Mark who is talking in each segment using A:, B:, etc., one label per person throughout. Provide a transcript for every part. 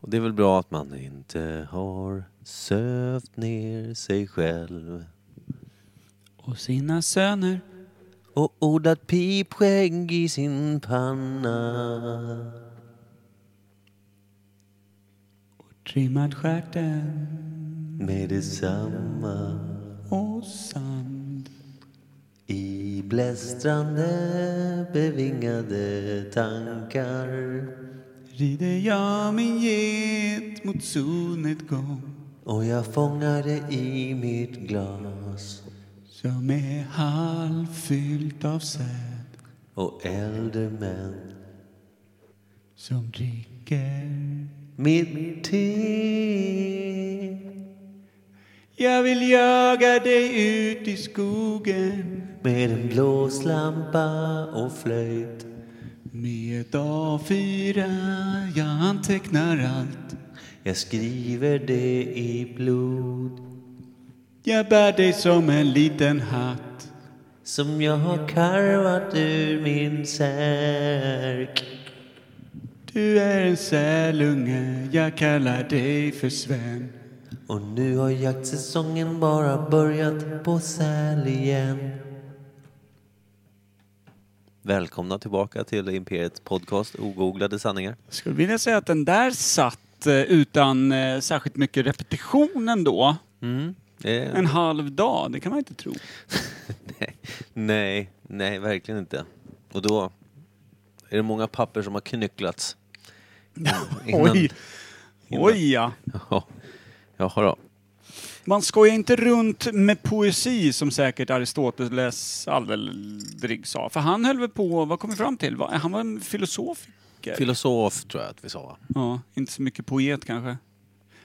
A: Och det är väl bra att man inte har sövt ner sig själv
B: Och sina söner.
A: och odlat pipskägg i sin panna.
B: Och trimmad stjärten.
A: Med detsamma
B: Och sand.
A: i blästrande bevingade tankar.
B: Rider jag min get mot solnedgång.
A: Och jag fångar det i mitt glas
B: Som är halvfyllt av säd.
A: och äldre män
B: Som dricker.
A: mitt te.
B: Jag vill jaga dig ut i skogen.
A: Med en blåslampa och flöjt
B: Med A4 jag antecknar allt.
A: Jag skriver det i blod
B: Jag bär dig som en liten hatt.
A: som jag har karvat ur min särk.
B: Du är en sälunge, jag kallar dig för Sven.
A: Och nu har jaktsäsongen bara börjat på säl igen. Välkomna tillbaka till Imperiets podcast Ogooglade sanningar.
B: Jag skulle vilja säga att den där satt eh, utan eh, särskilt mycket repetition ändå.
A: Mm. Eh,
B: En halv dag, det kan man inte tro.
A: nej, nej, nej, verkligen inte. Och då är det många papper som har knycklats. Innan-
B: Oj!
A: innan-
B: Oj ja.
A: Ja, jaha då.
B: Man skojar inte runt med poesi som säkert Aristoteles aldrig sa. För han höll väl på, vad kom vi fram till? Va- Han var en filosofiker.
A: Filosof tror jag att vi sa.
B: ja, inte så mycket poet kanske.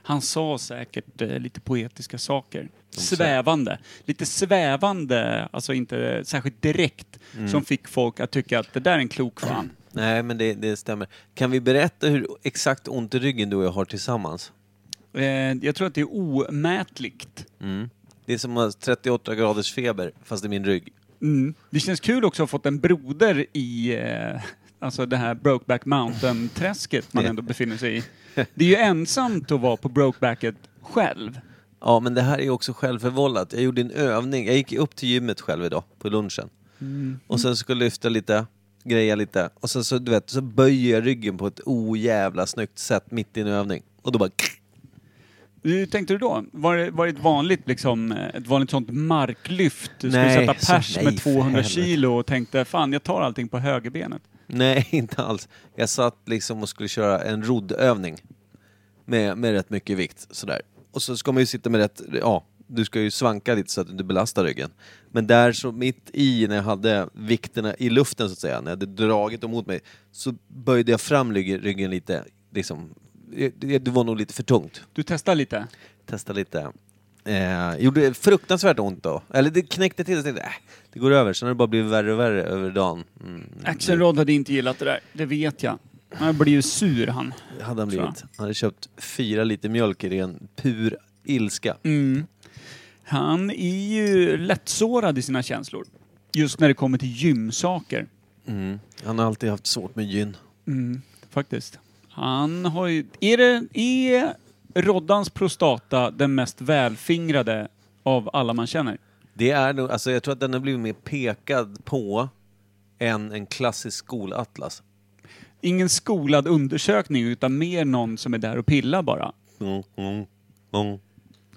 B: Han sa säkert eh, lite poetiska saker.
A: sä-
B: Svävande. Lite svävande, alltså inte särskilt direkt. Som fick folk att tycka att det där är en klok fan.
A: Nej, men det, det stämmer. Kan vi berätta hur exakt ont i ryggen du och jag har tillsammans?
B: Eh, jag tror att det är omätligt.
A: Mm. Det är som att ha 38 graders feber, fast i min rygg.
B: Mm. Det känns kul också att ha fått en broder i eh, alltså det här Brokeback Mountain-träsket man ändå befinner sig i. Det är ju ensamt att vara på Brokebacket själv.
A: Ja, men det här är också självförvållat. Jag gjorde en övning. Jag gick upp till gymmet själv idag, på lunchen. Och sen skulle jag lyfta lite, greja lite. Och sen så, du vet, så böjer jag ryggen på ett ojävla snyggt sätt mitt i en övning. Och då bara...
B: Hur tänkte du då? Var det, var det ett, vanligt, liksom, eh, ett vanligt sånt marklyft? Du skulle
A: Nej,
B: sätta
A: så-
B: pers
A: nej,
B: med
A: för
B: 200
A: helvete.
B: kilo och tänkte fan jag tar allting på högerbenet.
A: Nej, inte alls. Jag satt liksom och skulle köra en roddövning. Med, med rätt mycket vikt, sådär. Och så ska man ju sitta med rätt... Ja, du ska ju svanka lite så att du inte belastar ryggen. Men där så mitt i, när jag hade vikterna i luften så att säga, när jag hade dragit dem mot mig, så böjde jag fram ryggen, ryggen lite. Liksom. Det, det det var nog lite för tungt.
B: Du testar lite?
A: Testa lite. Eh, gjorde fruktansvärt ont då. Eller det knäckte till, så tänkte jag, äh, det går över. Sen har det bara blivit värre och värre över dagen. Mm.
B: Action Rod hade inte gillat det där, det vet jag. Han blir ju sur han.
A: hade han
B: Tror
A: blivit. Han hade köpt fyra liter mjölk i ren pur ilska.
B: Mm. Han är ju lättsårad i sina känslor. Just när det kommer till gymsaker.
A: Mm. Han har alltid haft svårt med gyn.
B: Mm, faktiskt. Han har ju... Är, det, är Roddans prostata den mest välfingrade av alla man känner?
A: Det är nog, alltså jag tror att den har blivit mer pekad på än en klassisk skolatlas.
B: Ingen skolad undersökning utan mer någon som är där och pillar bara.
A: Mm, mm, mm.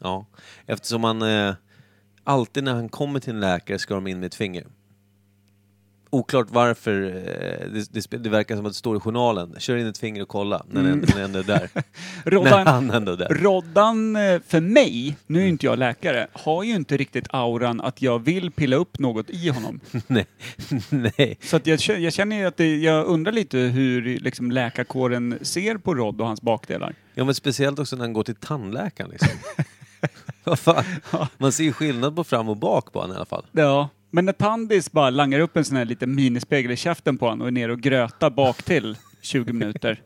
A: Ja. Eftersom han eh, alltid när han kommer till en läkare ska de in med ett finger. Oklart varför. Eh, det, det, spe- det verkar som att det står i journalen. Kör in ett finger och kolla när den när den ändå är där. när
B: Roddan,
A: han ändå är där.
B: Roddan eh, för mig, nu är inte jag läkare, har ju inte riktigt auran att jag vill pilla upp något i honom.
A: Nej. Nej.
B: Så att jag, kä- jag känner ju att det, jag undrar lite hur liksom läkarkåren ser på Rod och hans bakdelar.
A: Ja men speciellt också när han går till tandläkaren liksom. Vad fan? Man ser ju skillnad på fram och bak på honom i alla fall.
B: Ja. Men när Tandis bara langar upp en sån här liten minispegel i käften på honom och är nere och grötar bak till 20 minuter.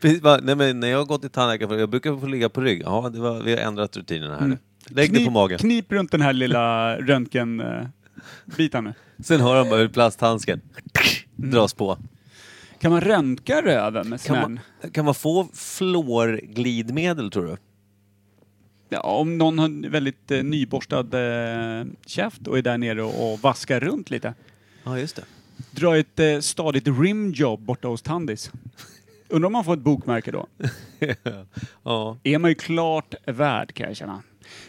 A: Precis, va? Nej, men när jag har gått till tandläkaren, för jag brukar få ligga på rygg. Ja, det var, vi har ändrat rutinerna här nu. Lägg dig på magen.
B: Knip runt den här lilla röntgen... eh, bitan nu.
A: Sen hör han bara hur plasthandsken dras på.
B: Kan man röntga röven med
A: Kan
B: snön?
A: man, kan man få flårglidmedel tror du?
B: Ja, om någon har en väldigt eh, nyborstad eh, käft och är där nere och, och vaskar runt lite.
A: Ja, just det.
B: Dra ett eh, stadigt rimjob borta hos Tandis. Undrar om man får ett bokmärke då?
A: ja.
B: Är man ju klart värd kan jag känna.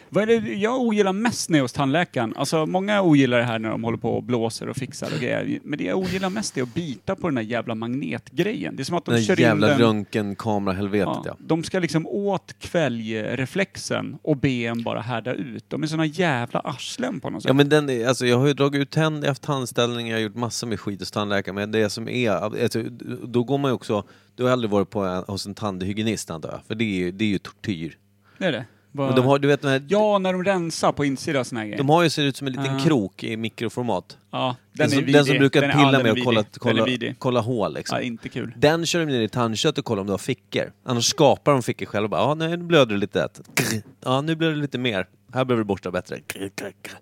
B: Vad är det jag ogillar mest när jag är hos tandläkaren? Alltså många ogillar det här när de håller på och blåser och fixar och grejer. Men det jag ogillar mest är att bita på den där jävla magnetgrejen. Det är som att de
A: Den
B: kör
A: jävla
B: in den...
A: röntgenkamerahelvetet ja.
B: Ja, de ska liksom åt kväljreflexen och be en bara härda ut. De är såna jävla arslen på något sätt.
A: Ja men den är, alltså jag har ju dragit ut tänder, jag har haft tandställning, jag har gjort massor med skit hos tandläkaren. Men det som är, alltså, då går man ju också, du har aldrig varit på en, hos en tandhygienist antar jag? För det är ju, det är ju tortyr.
B: Det är det. Vad-
A: Men de har, du vet den här,
B: Ja, när de rensar på insidan och såna här grejer.
A: de har ju ser ut som en liten
B: Ah.
A: krok i mikroformat.
B: ja,
A: Den,
B: den, är
A: som,
B: vidrig.
A: den som brukar
B: Den är- ja,
A: pilla
B: den är
A: med och
B: vidrig.
A: kolla,
B: Den är
A: kolla,
B: vidrig.
A: kolla hål liksom.
B: Ja, inte kul.
A: Den kör de ner i tandkött och kollar om du har fickor. Annars skapar de fickor själva. och bara, Ja, nu blöder det lite. Krr. Ja, nu blöder det lite mer. Här behöver du borsta bättre. Krr, krr, krr.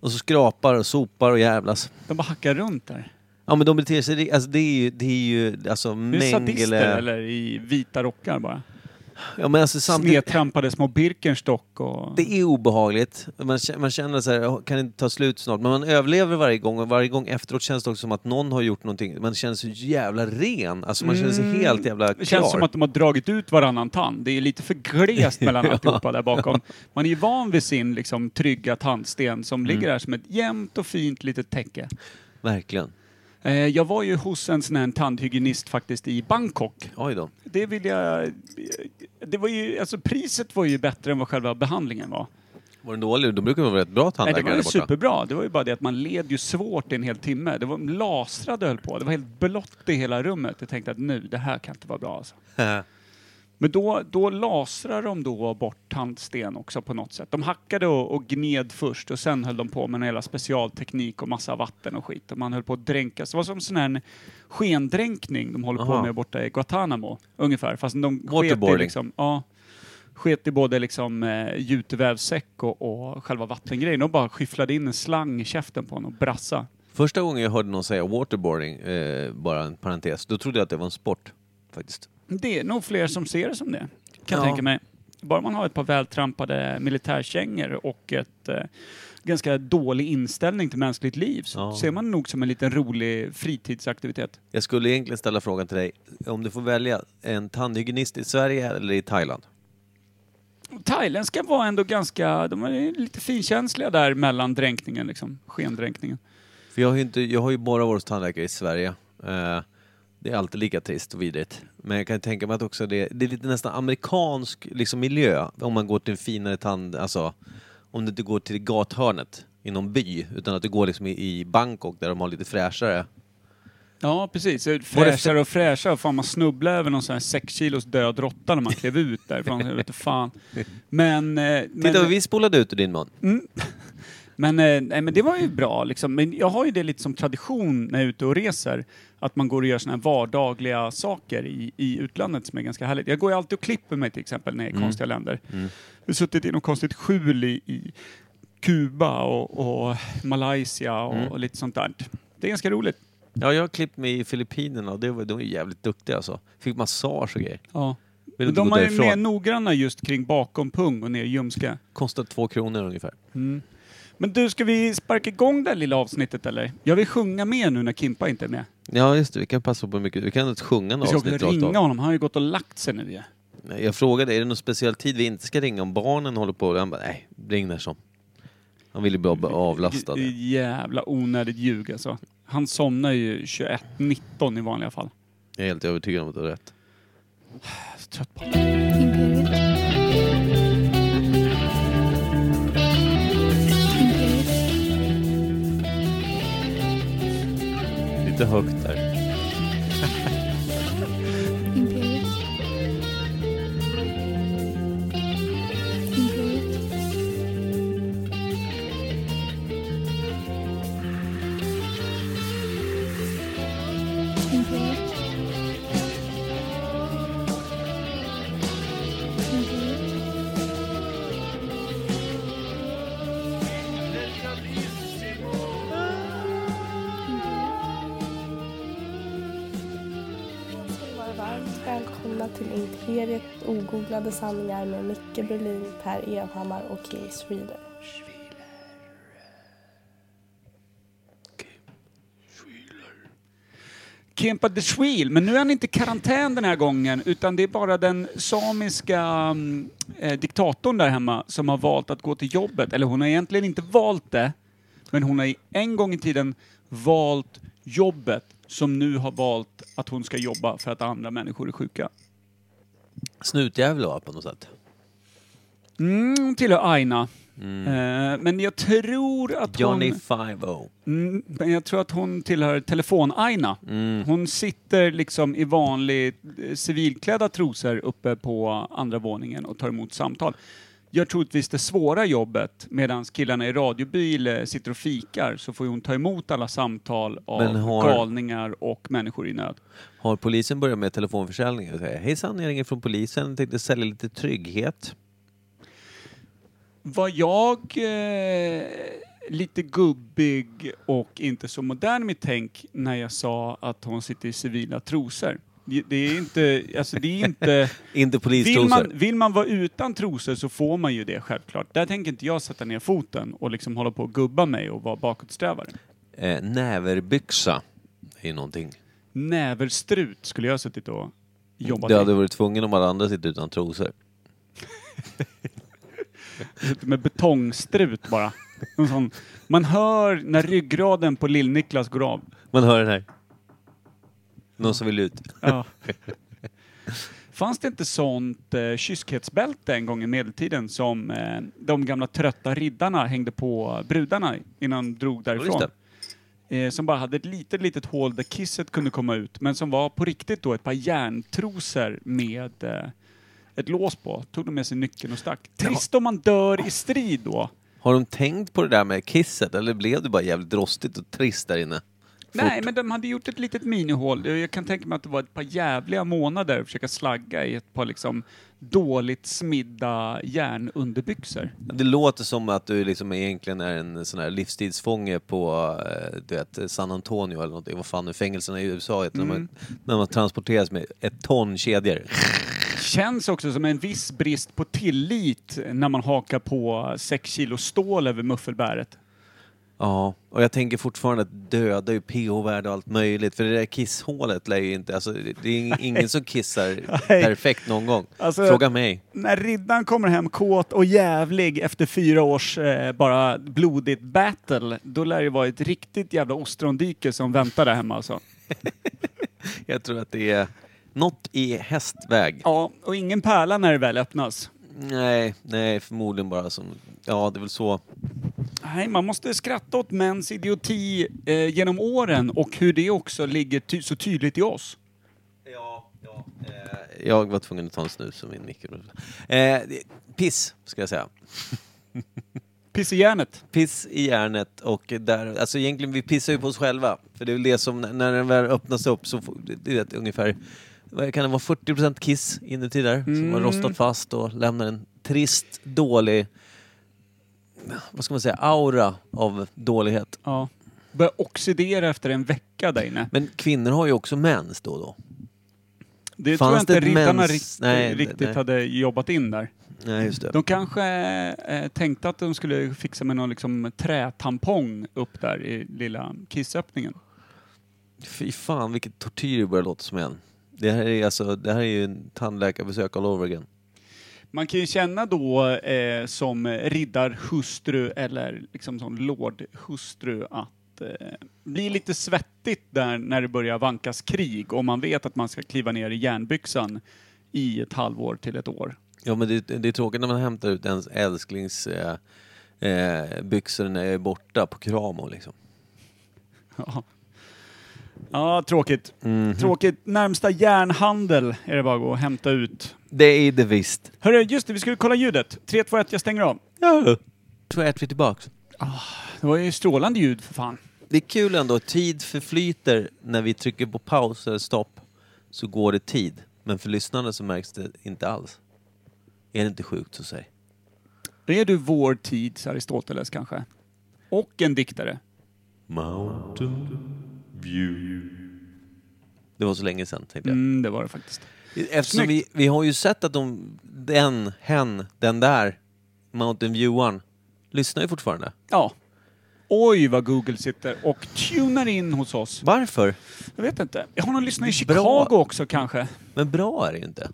A: Och så skrapar och sopar och jävlas.
B: De bara hackar runt där.
A: Ja men de beter sig, alltså det är ju, det är ju alltså
B: Du är sadister
A: Mengele...
B: eller i vita rockar bara.
A: Ja men alltså samtidigt,
B: Snedtrampade små Birkenstock och...
A: det är obehagligt. Man, kä- man känner så här, "Åh, kan det inte ta slut snart? Men man överlever varje gång och varje gång efteråt känns det också som att någon har gjort någonting. Man känner sig jävla ren, alltså man känner sig
B: Mm.
A: helt jävla klar.
B: Det känns som att de har dragit ut varannan tand. Det är lite för glest mellan alltihopa där bakom. Man är ju van vid sin liksom, trygga tandsten som
A: Mm.
B: ligger där som ett jämnt och fint litet täcke.
A: Verkligen.
B: Eh, jag var ju hos en sån här tandhygienist faktiskt i Bangkok.
A: Oj då.
B: Det vill jag... Det var ju, alltså priset var ju bättre än vad själva behandlingen var.
A: Var den dålig? De brukar vara rätt bra
B: Nej, det
A: tandläkare
B: var ju
A: där borta.
B: superbra. Det var ju bara det att man led ju svårt i en hel timme. Det var de lasrade höll på. Det var helt blått i hela rummet. Jag tänkte att nu, det här kan inte vara bra alltså. Men då, då lasrar de då bort tandsten också på något sätt. De hackade och, och gned först och sen höll de på med en hela specialteknik och massa vatten och skit. Och man höll på att dränkas. Det var som sån här skendränkning de håller på
A: Aha.
B: med borta i Guantanamo. Ungefär. Fast de sket i
A: Waterboarding.
B: liksom... Ja, sket i både liksom eh, gjutevävsäck och, och själva vattengrejen. De bara skyfflade in en slang i käften på honom och brassa.
A: Första gången jag hörde någon säga waterboarding, eh, bara en parentes, då trodde jag att det var en sport. Faktiskt.
B: Det är nog fler som ser det som det, kan jag
A: Ja.
B: tänka mig. Bara man har ett par vältrampade militärkängor och ett eh, ganska dålig inställning till mänskligt liv så
A: Ja.
B: ser man nog som en liten rolig fritidsaktivitet.
A: Jag skulle egentligen ställa frågan till dig, om du får välja en tandhygienist i Sverige eller i Thailand?
B: Thailändska var ändå ganska, de är lite finkänsliga där mellan dränkningen liksom, skendränkningen.
A: För jag har ju, inte, jag har ju bara varit hos tandläkare i Sverige. Eh, det är alltid lika trist och vidrigt. Men jag kan tänka mig att också det, det är lite nästan amerikansk liksom, miljö om man går till en finare tand... Alltså, om du inte går till gathörnet i någon by utan att du går liksom i, i Bangkok där de har lite fräschare.
B: Ja precis, Det är fräschare och fräschare. Fan man snubblade över någon sån här sex kilos död råtta när man klev ut därifrån. Jag vet inte fan. Men... eh, men-
A: Titta vad vi spolade ut ur din mun.
B: Men, eh, nej, men det var ju bra. Liksom. Men jag har ju det lite som tradition när jag är ute och reser. Att man går och gör såna här vardagliga saker i, i utlandet som är ganska härligt. Jag går ju alltid och klipper mig till exempel när jag är i
A: Mm.
B: konstiga länder. Jag har suttit i något konstigt skjul i, i Kuba och, och Malaysia och,
A: Mm.
B: och lite sånt där. Det är ganska roligt.
A: Ja, jag har klippt mig i Filippinerna och det var, de var ju jävligt duktiga alltså. Fick massage och grejer.
B: Ja.
A: Vill
B: Men
A: inte
B: de
A: gå
B: är ju
A: därifrån.
B: mer noggranna just kring bakom pung och ner i ljumske.
A: Kostar två kronor ungefär.
B: Men du, ska vi sparka igång det här lilla avsnittet eller? Jag vill sjunga med nu när Kimpa inte är med.
A: Ja, just det. Vi kan passa på hur mycket. Vi kan ha ett sjungande
B: Vi ska
A: avsnitt rakt av.
B: ringa honom, han har ju gått och lagt sig nu ju.
A: Nej, Jag frågade, är det någon speciell tid vi inte ska ringa om barnen håller på? Och Han bara, nej, ring när som. Han ville bara bli avlastad.
B: J- Jävla onödigt ljug alltså. Han somnar ju 21.19 i vanliga fall.
A: Jag är helt övertygad om att du har rätt.
B: Jag är så trött på honom.
C: Imperial. Imperial.
A: Lite högt där.
C: Imperial. Imperial. Imperial. Imperial. Imperial.
D: välkomna till Imperiet ogooglade sanningar med Micke Berlin, Per Evhammar och Kim Schreeder.
B: Kimpa the Sweel, men nu är han inte i karantän den här gången utan det är bara den samiska mm, eh, diktatorn där hemma som har valt att gå till jobbet. Eller hon har egentligen inte valt det, men hon har i- en gång i tiden valt jobbet som nu har valt att hon ska jobba för att andra människor är sjuka.
A: Snutjävel var på något sätt.
B: Mm, hon tillhör Aina. Eh, men jag tror att
A: Mm. Johnny
B: hon...
A: Five O.
B: Mm, men jag tror att hon tillhör telefon-Aina.
A: Mm.
B: Hon sitter liksom i vanlig eh, civilklädda trosor uppe på andra våningen och tar emot samtal. Gör troligtvis det svåra jobbet medan killarna i radiobil eh, sitter och fikar så får ju hon ta emot alla samtal av
A: Men har-
B: galningar och människor i nöd.
A: Har polisen börjat med telefonförsäljning? Jag säger, Hejsan, jag ringer från polisen. Tänkte sälja lite trygghet.
B: Var jag eh, lite gubbig och inte så modern i mitt tänk när jag sa att hon sitter i civila trosor? Det det är inte... Alltså det är inte vill,
A: Inte
B: man,
A: polistrosor.
B: vill man vara utan trosor så får man ju det självklart. Där tänker inte jag sätta ner foten och liksom hålla på och gubba mig och vara bakåtsträvare.
A: Eh, näverbyxa är ju någonting.
B: Näverstrut skulle jag ha suttit och jobbat
A: Du hade
B: med.
A: varit tvungen om alla andra sitter utan trosor.
B: Suttit med betongstrut bara. En sån, man hör när ryggraden på Lill-Niklas går av.
A: Man hör den här. Någon som vill ut.
B: Ja. Fanns det inte sånt eh, kyskhetsbälte en gång i medeltiden som eh, de gamla trötta riddarna hängde på brudarna innan de drog därifrån?
A: just
B: Eh, som bara hade ett litet, litet hål där kisset kunde komma ut, men som var på riktigt då ett par järntrosor med eh, ett lås på. Tog de med sig nyckeln och stack. Trist om man dör i strid då.
A: Har de tänkt på det där med kisset eller blev det bara jävligt rostigt och trist där inne?
B: Nej, men de hade gjort ett litet minihål. Jag kan tänka mig att det var ett par jävliga månader att försöka slagga i ett par liksom dåligt smidda järnunderbyxor.
A: Det låter som att du liksom egentligen är en sån här livstidsfånge på eh, du vet, San Antonio eller någonting. Vad fan nu fängelserna i USA heter. När,
B: Mm.
A: man, när man transporteras med ett ton kedjor.
B: Känns också som en viss brist på tillit när man hakar på sex kilo stål över muffelbäret.
A: Ja, och jag tänker fortfarande att döda är pH-värde och allt möjligt. För det där kisshålet lär ju inte... Alltså, det är ing- ingen som kissar
B: Nej.
A: perfekt någon gång.
B: Alltså-
A: Fråga mig.
B: När riddaren kommer hem kåt och jävlig efter fyra års eh, bara blodigt battle, då lär det vara ett riktigt jävla ostrondike som väntar där hemma alltså.
A: Jag tror att det är något i hästväg.
B: Ja, och ingen pärla när det väl öppnas.
A: Nej, nej, förmodligen bara som... Ja, det är väl så.
B: Nej, man måste skratta åt mäns idioti eh, genom åren och hur det också ligger ty- så tydligt i oss.
A: Ja, ja. Eh, jag var tvungen att ta en snus som min mikro. Eh, det- piss, ska jag säga.
B: Piss i järnet.
A: Piss i järnet och där, alltså egentligen vi pissar ju på oss själva. För det är väl det som, när den väl öppnas upp så får, du vet ungefär, vad kan det vara 40% kiss inuti där som har rostat fast och lämnar en trist, dålig, vad ska man säga, aura av dålighet.
B: Ja. Börjar oxidera efter en vecka där inne.
A: Men kvinnor har ju också mens då och då.
B: Det
A: Fanns
B: tror jag inte
A: det ett
B: riddarna
A: mens-
B: rikt-
A: Nej,
B: riktigt
A: nej.
B: hade jobbat in där.
A: Nej, just det.
B: De kanske eh, tänkte att de skulle fixa med någon liksom, trätampong upp där i lilla kissöppningen.
A: Fy fan vilket tortyr det börjar låta som igen. Det här är, alltså, det här är ju en tandläkarbesök all over again.
B: Man kan ju känna då eh, som riddarhustru eller liksom som lordhustru att eh, bli lite svettigt där när det börjar vankas krig och man vet att man ska kliva ner i järnbyxan i ett halvår till ett år.
A: Ja men det, det är tråkigt när man hämtar ut ens älsklings eh, eh, byxor när jag är borta på Kramo liksom.
B: Ja, ja tråkigt. Tråkigt. Närmsta järnhandel är det bara att gå och hämta ut.
A: Det är det visst.
B: Hörru, just det, vi skulle kolla ljudet. 3, 2, 1, jag stänger av.
A: Ja. Tror jag att vi är tillbaks.
B: Det var ju strålande ljud för fan.
A: Det är kul ändå, tid förflyter när vi trycker på paus eller stopp så går det tid. Men för lyssnarna så märks det inte alls. Är det inte sjukt så säg?
B: Är du vår tids Aristoteles kanske? Och en diktare.
A: Mountain View. Det var så länge sedan tänkte jag.
B: Mm, det var det faktiskt.
A: Eftersom vi, vi har ju sett att de, den, hen, den där Mountain Viewan lyssnar ju fortfarande.
B: Ja. Oj vad Google sitter och tunar in hos oss.
A: Varför?
B: Jag vet inte. Har någon lyssnat i
A: Bra.
B: Chicago också kanske?
A: Men bra är det ju inte.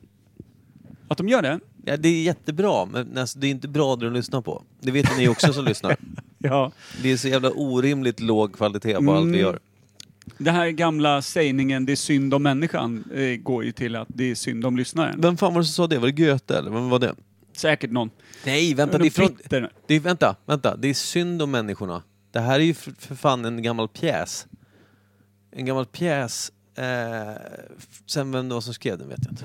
B: Att de gör det?
A: Ja, det är jättebra, men alltså, det är inte bra det de lyssnar på. Det vet ni också som lyssnar.
B: Ja.
A: Det är så jävla orimligt låg kvalitet på allt vi
B: Mm.
A: gör.
B: Det här gamla sägningen, det är synd om människan, eh, går ju till att det är synd om lyssnaren.
A: Vem fan var det som sa det? Var det Goethe eller vem var det?
B: Säkert någon.
A: Nej, vänta. Det
B: De
A: är från,
B: britterna.
A: det är, vänta, vänta. Det är synd om människorna. Det här är ju för, för fan en gammal pjäs. En gammal pjäs. Eh, f- sen vem det var som skrev den vet jag inte.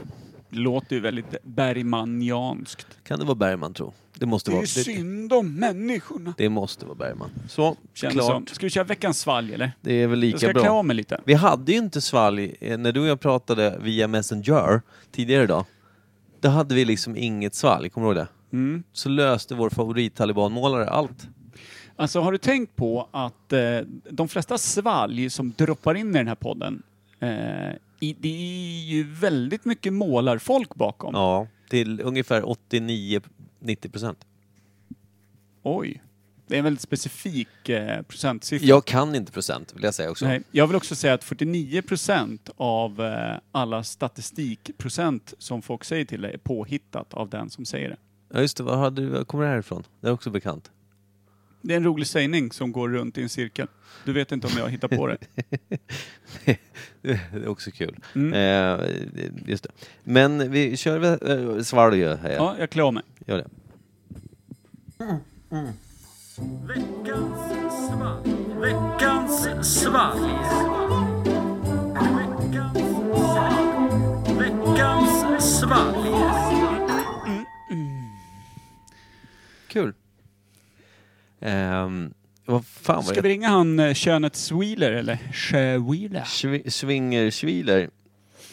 B: låter ju väldigt bergmanianskt.
A: Kan det vara Bergman tro? Det måste
B: Det är
A: vara.
B: ju synd om människorna.
A: det måste vara Bergman. Så,
B: Känns
A: klart.
B: som. Ska vi köra veckans svalg eller?
A: Det är väl
B: Jag ska
A: lika
B: klä
A: bra.
B: av mig lite.
A: Vi hade ju inte svalg eh, när du och jag pratade via Messenger tidigare idag. Då hade vi liksom inget svalg, kommer du ihåg det?
B: Mm.
A: Så löste vår favorittalibanmålare allt.
B: Alltså har du tänkt på att eh, de flesta svalg som droppar in i den här podden, eh, i, det är ju väldigt mycket målarfolk bakom.
A: Ja, till ungefär 89-90 procent.
B: Oj. Det är en väldigt specifik eh, procentsiffra.
A: Jag kan inte procent, vill jag säga också.
B: Nej, jag vill också säga att 49 procent av eh, alla statistikprocent som folk säger till dig är påhittat av den som säger det.
A: Ja, just det, var, hade, du- var kommer det här ifrån? Det är också bekant.
B: Det är en rolig sägning som går runt i en cirkel. Du vet inte om jag hittar på det.
A: det är också kul.
B: Mm.
A: Eh, just det. Men vi kör väl eh, Svalgö här. Ja.
B: Ja, jag klär av mig.
A: Gör det. Kul. Ehm, vad fan var
B: Ska
A: det?
B: vi ringa han eh, könet Sweeler eller Sjöwheeler?
A: Schwi- Swinger-Schwiler.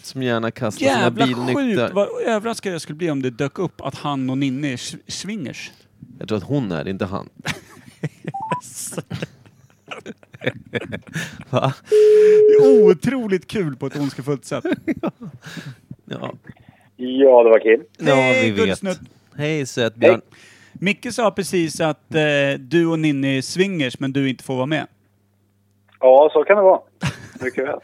A: Som gärna kastar
B: Jävla
A: sina
B: sjukt
A: bilnyktar.
B: vad överraskad jag skulle bli om det dök upp att han och Ninni är sw- swingers.
A: Jag tror att hon är det, inte han. Va?
B: Det är otroligt kul på ett ondskefullt sätt.
A: Ja,
E: Ja, det var kul.
A: ja vi
B: Hej,
A: vet.
B: guldsnutt.
A: Hej Sötbjörn.
B: Micke sa precis att eh, du och Ninni är swingers men du inte får vara med.
E: Ja, så kan det vara. Mycket väl.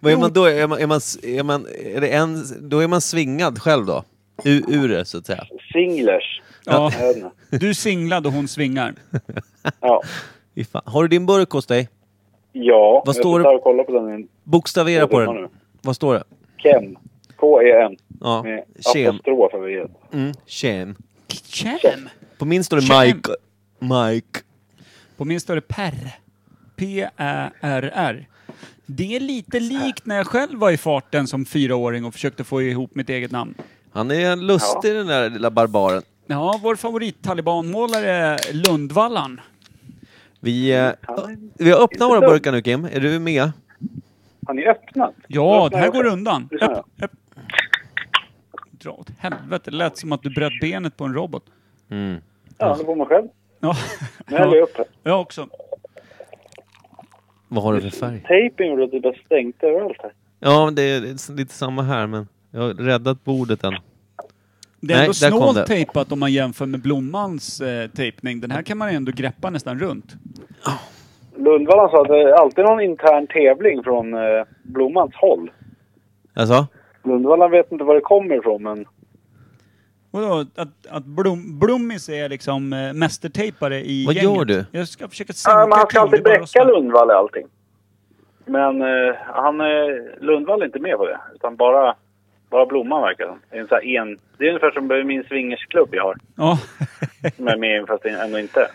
A: Vad är man då? Är man, är man, s- är man, är det en, då är man svingad själv då? U, ur det så att säga.
E: Singlers.
B: Ja,
E: Jag vet inte.
B: du är singlad och hon swingar.
E: Ja.
A: Fy fan. Har du din burk hos dig?
E: ja
A: Vad
E: jag
A: står
E: ska
A: det-
E: ta och kolla på den.
A: Bokstavera på
E: Jag vet
A: den.
E: inte.
A: Vad står det?
E: Kem. K-E-M.
A: Ja,
E: E Med
A: kem.
E: apostrof över E.
A: Mm, kem.
B: Tjam!
A: På min står det
B: Kem.
A: Mike. Mike.
B: På min står det perr. P-Ä-R-R. Det är lite likt när jag själv var i farten som fyraåring och försökte få ihop mitt eget namn.
A: Han är lustig den där lilla barbaren.
B: Ja, vår favorittalibanmålare är Lundvallan.
A: Vi, eh, vi har öppnat våra burkar nu Kim. Är du med?
E: Har ni öppnat?
B: Ja, det
E: Öppna
B: här
E: också.
B: går undan.
E: Det kan jag.
B: Öpp- öpp- Dra åt helvete, det lät som att du bröt benet på en robot.
E: Ja, det får man själv.
B: Ja,
E: Nu häller jag
B: ja
E: upp det.
B: jag också.
A: Vad har du för färg?
E: Tejpen gjorde att det bara stänkte överallt här.
A: Ja, men det är det är lite samma här men jag har räddat bordet än.
B: Det
A: Nej,
B: är ändå
A: där kom det.
B: snålt tejpat om man jämför med Blommans eh, tejpning. Den här kan man ändå greppa nästan runt.
E: Lundvallan sa att det är alltid någon intern tävling från eh, Blommans håll.
A: Alltså?
E: Lundvallan vet inte var det kommer ifrån, men
B: Vadå? Att, att Blom, Blommis är liksom eh, mästertejpare i
A: Vad
B: gänget?
A: gör du?
B: Jag ska försöka sänka
E: Ja, men han ska alltid
B: Kronlund bara
E: bräcka
B: rösta.
E: Lundvall i allting. Men eh, han, eh, Lundvall är inte med på det. Utan bara, bara Blomman verkar som. det. Är en så här en, det är ungefär som min swingersklubb jag har.
B: Ja.
E: Som jag är med i fast ändå inte.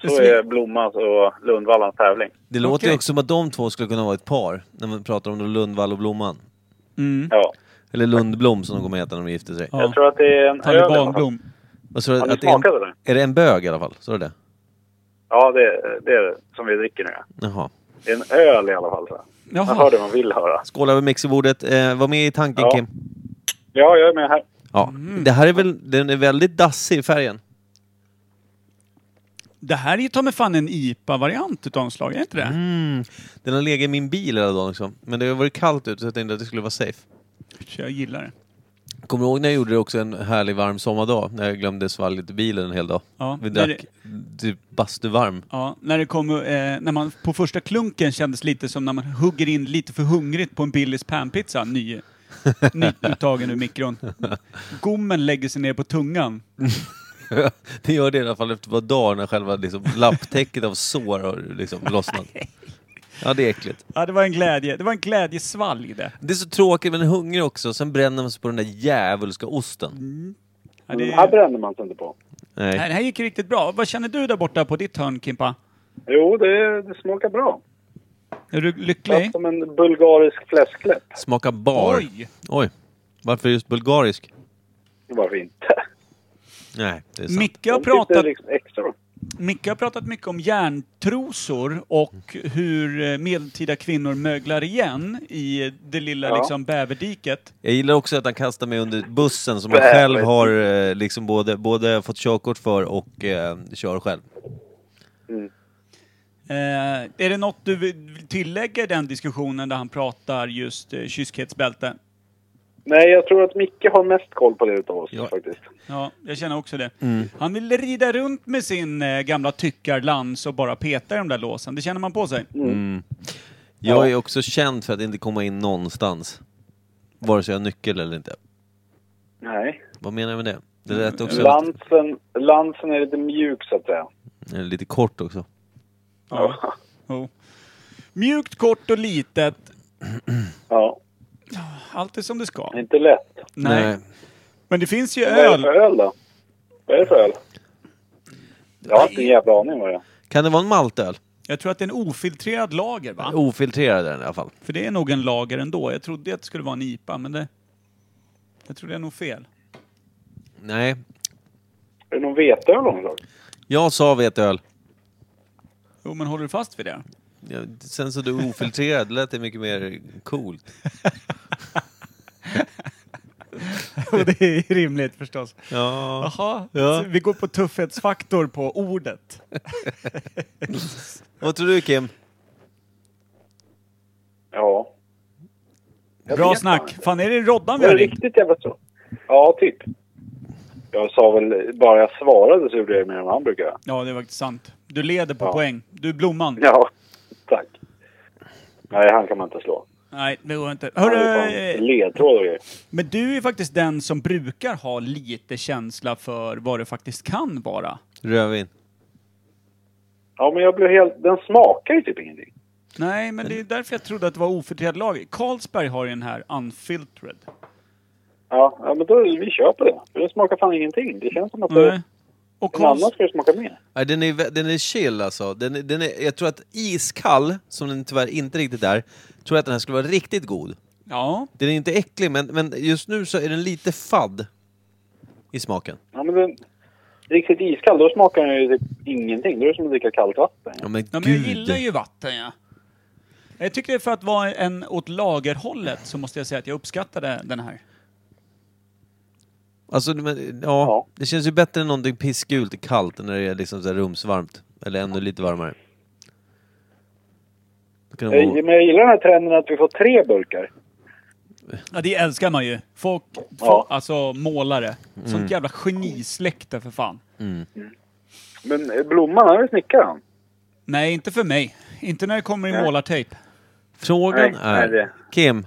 E: Så
B: Swing-
E: är Blommans och Lundvallans tävling.
A: Det låter ju
B: Okej.
A: också som att de två skulle kunna vara ett par, när man pratar om Lundvall och Blomman.
B: Mm.
E: Ja.
A: Eller Lundblom som de kommer heta när de gifter sig.
B: Ja.
E: Jag tror att det är en öl. i alla fall.
B: Talibanblom.
A: Vad sa du?
E: Har ni
A: Att det är, en,
E: smakat eller?
A: är det en bög i alla fall? Så är det
E: Ja, det, det är det som vi dricker nu. ja.
A: Jaha.
E: Det är en öl i alla fall. Så. här. Man hör
B: Jaha.
E: det man vill höra.
A: Skål över mixerbordet. Eh, var med i tanken
E: Ja.
A: Kim.
E: Ja, jag är med här.
A: Ja. Det här är väl, den är väldigt dassig i färgen.
B: Det här är ju ta mig fan en IPA-variant utav en slag, är det inte det?
A: Mm. Den har legat i min bil hela dagen också. Men det har varit kallt ute så jag tänkte att det skulle vara safe.
B: Så jag gillar det.
A: Kommer du ihåg när jag gjorde det också en härlig varm sommardag? När jag glömde svalget i bilen en hel dag.
B: Ja,
A: Vi
B: när
A: drack typ bastuvarm.
B: Ja, när det kom, eh, när man på första klunken kändes lite som när man hugger in lite för hungrigt på en Billys panpizza, ny, nyuttagen ur mikron. Gommen lägger sig ner på tungan.
A: det gör det i alla fall efter ett par dagar när själva liksom lapptäcket av sår har liksom lossnat. Ja, det är äckligt.
B: Ja, det var en glädje, det var en glädjesvalg det.
A: Det är så tråkigt, men hungrig också. Sen bränner man sig på den där djävulska osten.
B: Ja,
E: Mm,
B: det
E: Här
B: nej,
E: brände man sig inte på.
A: Nej.
B: det här gick riktigt bra. Vad känner du där borta på ditt hörn, Kimpa?
E: Jo, det, det smakar bra.
B: Är du
E: Satt
B: lycklig?
E: Som en bulgarisk fläskläpp.
A: Smaka bar.
B: Oj!
A: Oj. Varför just bulgarisk?
E: Varför inte?
A: Nej, det är sant.
B: Micke har,
E: De sitter
B: pratat,
E: Liksom extra.
B: Micke har pratat mycket om järntrosor och hur eh, medeltida kvinnor möglar igen i det lilla
E: Ja.
B: liksom, bäverdiket.
A: Jag gillar också att han kastar mig under bussen som han
E: Bäh,
A: själv
E: vet
A: har eh, liksom både, både fått körkort för och eh, kör själv.
B: Eh, är det något du vill vill tillägga i den diskussionen där han pratar just eh, kyskhetsbälte?
E: Nej, jag tror att Micke har mest koll på det utav oss
A: Ja.
E: faktiskt.
B: Ja, jag känner också det. Han ville rida runt med sin eh, gamla tyckarlans och bara peta i de där låsen. Det känner man på sig.
A: Jag
E: Ja.
A: är också känd för att inte komma in någonstans. Vare sig jag har nyckel eller inte.
E: Nej.
A: Vad menar jag med det? Det lät också lite,
E: Lansen, lansen är lite mjuk så att säga.
A: eh, lite kort också.
B: Ja. Jo. Mjukt, kort och litet.
E: Ja,
B: Allt är som det ska.
E: inte lätt.
B: Nej. Men det finns ju
E: Vad är det
B: öl.
E: för öl då? Vad är det för öl? Jag har inte en jävla aning vad det är.
A: Kan det vara en maltöl?
B: Jag tror att det är en ofiltrerad lager, va?
A: Ofiltrerad är den i alla fall.
B: För det är nog en lager ändå. Jag trodde att det skulle vara en IPA, men det... Jag tror det är nog fel.
A: Nej.
E: Är det någon veteöl av något slag?
A: Jag sa vetöl.
B: Jo, men håller du fast vid det?
A: Ja, Sen så du ofiltrerad lät det mycket mer coolt.
B: Och det är rimligt förstås.
A: Ja.
B: Jaha,
A: Ja.
B: så vi går på tuffhetsfaktor på ordet.
A: Vad tror du Kim?
E: Ja. Jag
B: Bra
E: vet
B: snack!
E: inte.
B: Fan, är det Roddan vi
E: Det är
B: har ringt?
E: riktigt jävla så. Ja, typ. Jag sa väl, bara jag svarade så gjorde jag mer än vad han brukar göra.
B: Ja, det är faktiskt sant. Du leder på
E: Ja.
B: poäng. Du är blomman.
E: Ja, tack. Nej, han kan man inte slå.
B: Nej, det går inte.
E: Han är ju
B: Hörru, eh,
E: fan ledtråd och grejer.
B: men du är faktiskt den som brukar ha lite känsla för vad det faktiskt kan vara.
A: Rödvin.
E: Ja, men jag blev helt... Den smakar ju typ ingenting.
B: Nej, men det är därför jag trodde att det var ofiltrerad lager. Carlsberg har ju den här unfiltered.
E: Ja, ja men då, vi köper det. För Den smakar fan ingenting. Det känns som att
B: Nej.
E: det,
B: Och
E: någon annan
B: Carls...
E: ska det smaka mer.
A: Nej, den, är, vä- den är chill alltså. Den, är- den är, jag tror att iskall, som den tyvärr inte riktigt är, tror jag att den här skulle vara riktigt god.
B: Ja,
A: Den är inte äcklig, men, men just nu så är den lite fadd i smaken.
E: Ja, men den, riktigt iskall, då smakar den ju typ ingenting. Då är det som att dricka kallt vatten.
A: Ja, men
B: Ja, men jag gillar ju vatten, ja. Jag tycker det för att vara en åt lagerhållet så måste jag säga att jag uppskattade den här.
A: Alltså, men, ja,
E: Ja.
A: det känns ju bättre än någonting pissgult och kallt än när det är liksom så här rumsvarmt. Eller ännu lite varmare. Då kan det
E: Jag,
A: vara...
E: men jag gillar den här trenden att vi får tre burkar.
B: Ja, det älskar man ju. Folk,
E: Ja.
B: folk alltså målare. Sånt jävla genisläkte för fan.
E: Men eh, Blomman, han är ju snickare han.
B: Nej, inte för mig. Inte när det kommer i målartejp.
A: Frågan
E: Nej,
A: är...
E: nej, det-
A: Kim,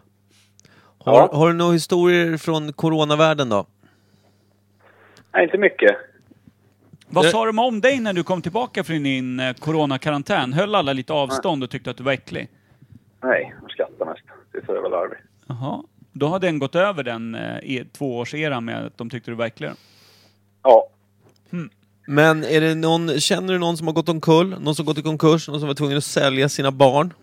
A: har,
E: Ja.
A: har du några historier från coronavärlden då?
E: Nej, inte mycket.
B: Vad
A: Det-
B: sa de om dig när du kom tillbaka från din eh, coronakarantän? Höll alla lite avstånd och tyckte att du var äcklig?
E: Nej, de skrattar mest. Det är så jävla larvigt.
B: Jaha. Då har den gått över den eh, e- tvåårseran med att de tyckte du var äcklig.
E: Ja.
A: Men är det någon, känner du någon som har gått omkull? Någon som gått i konkurs? Någon som var tvungen att sälja sina barn?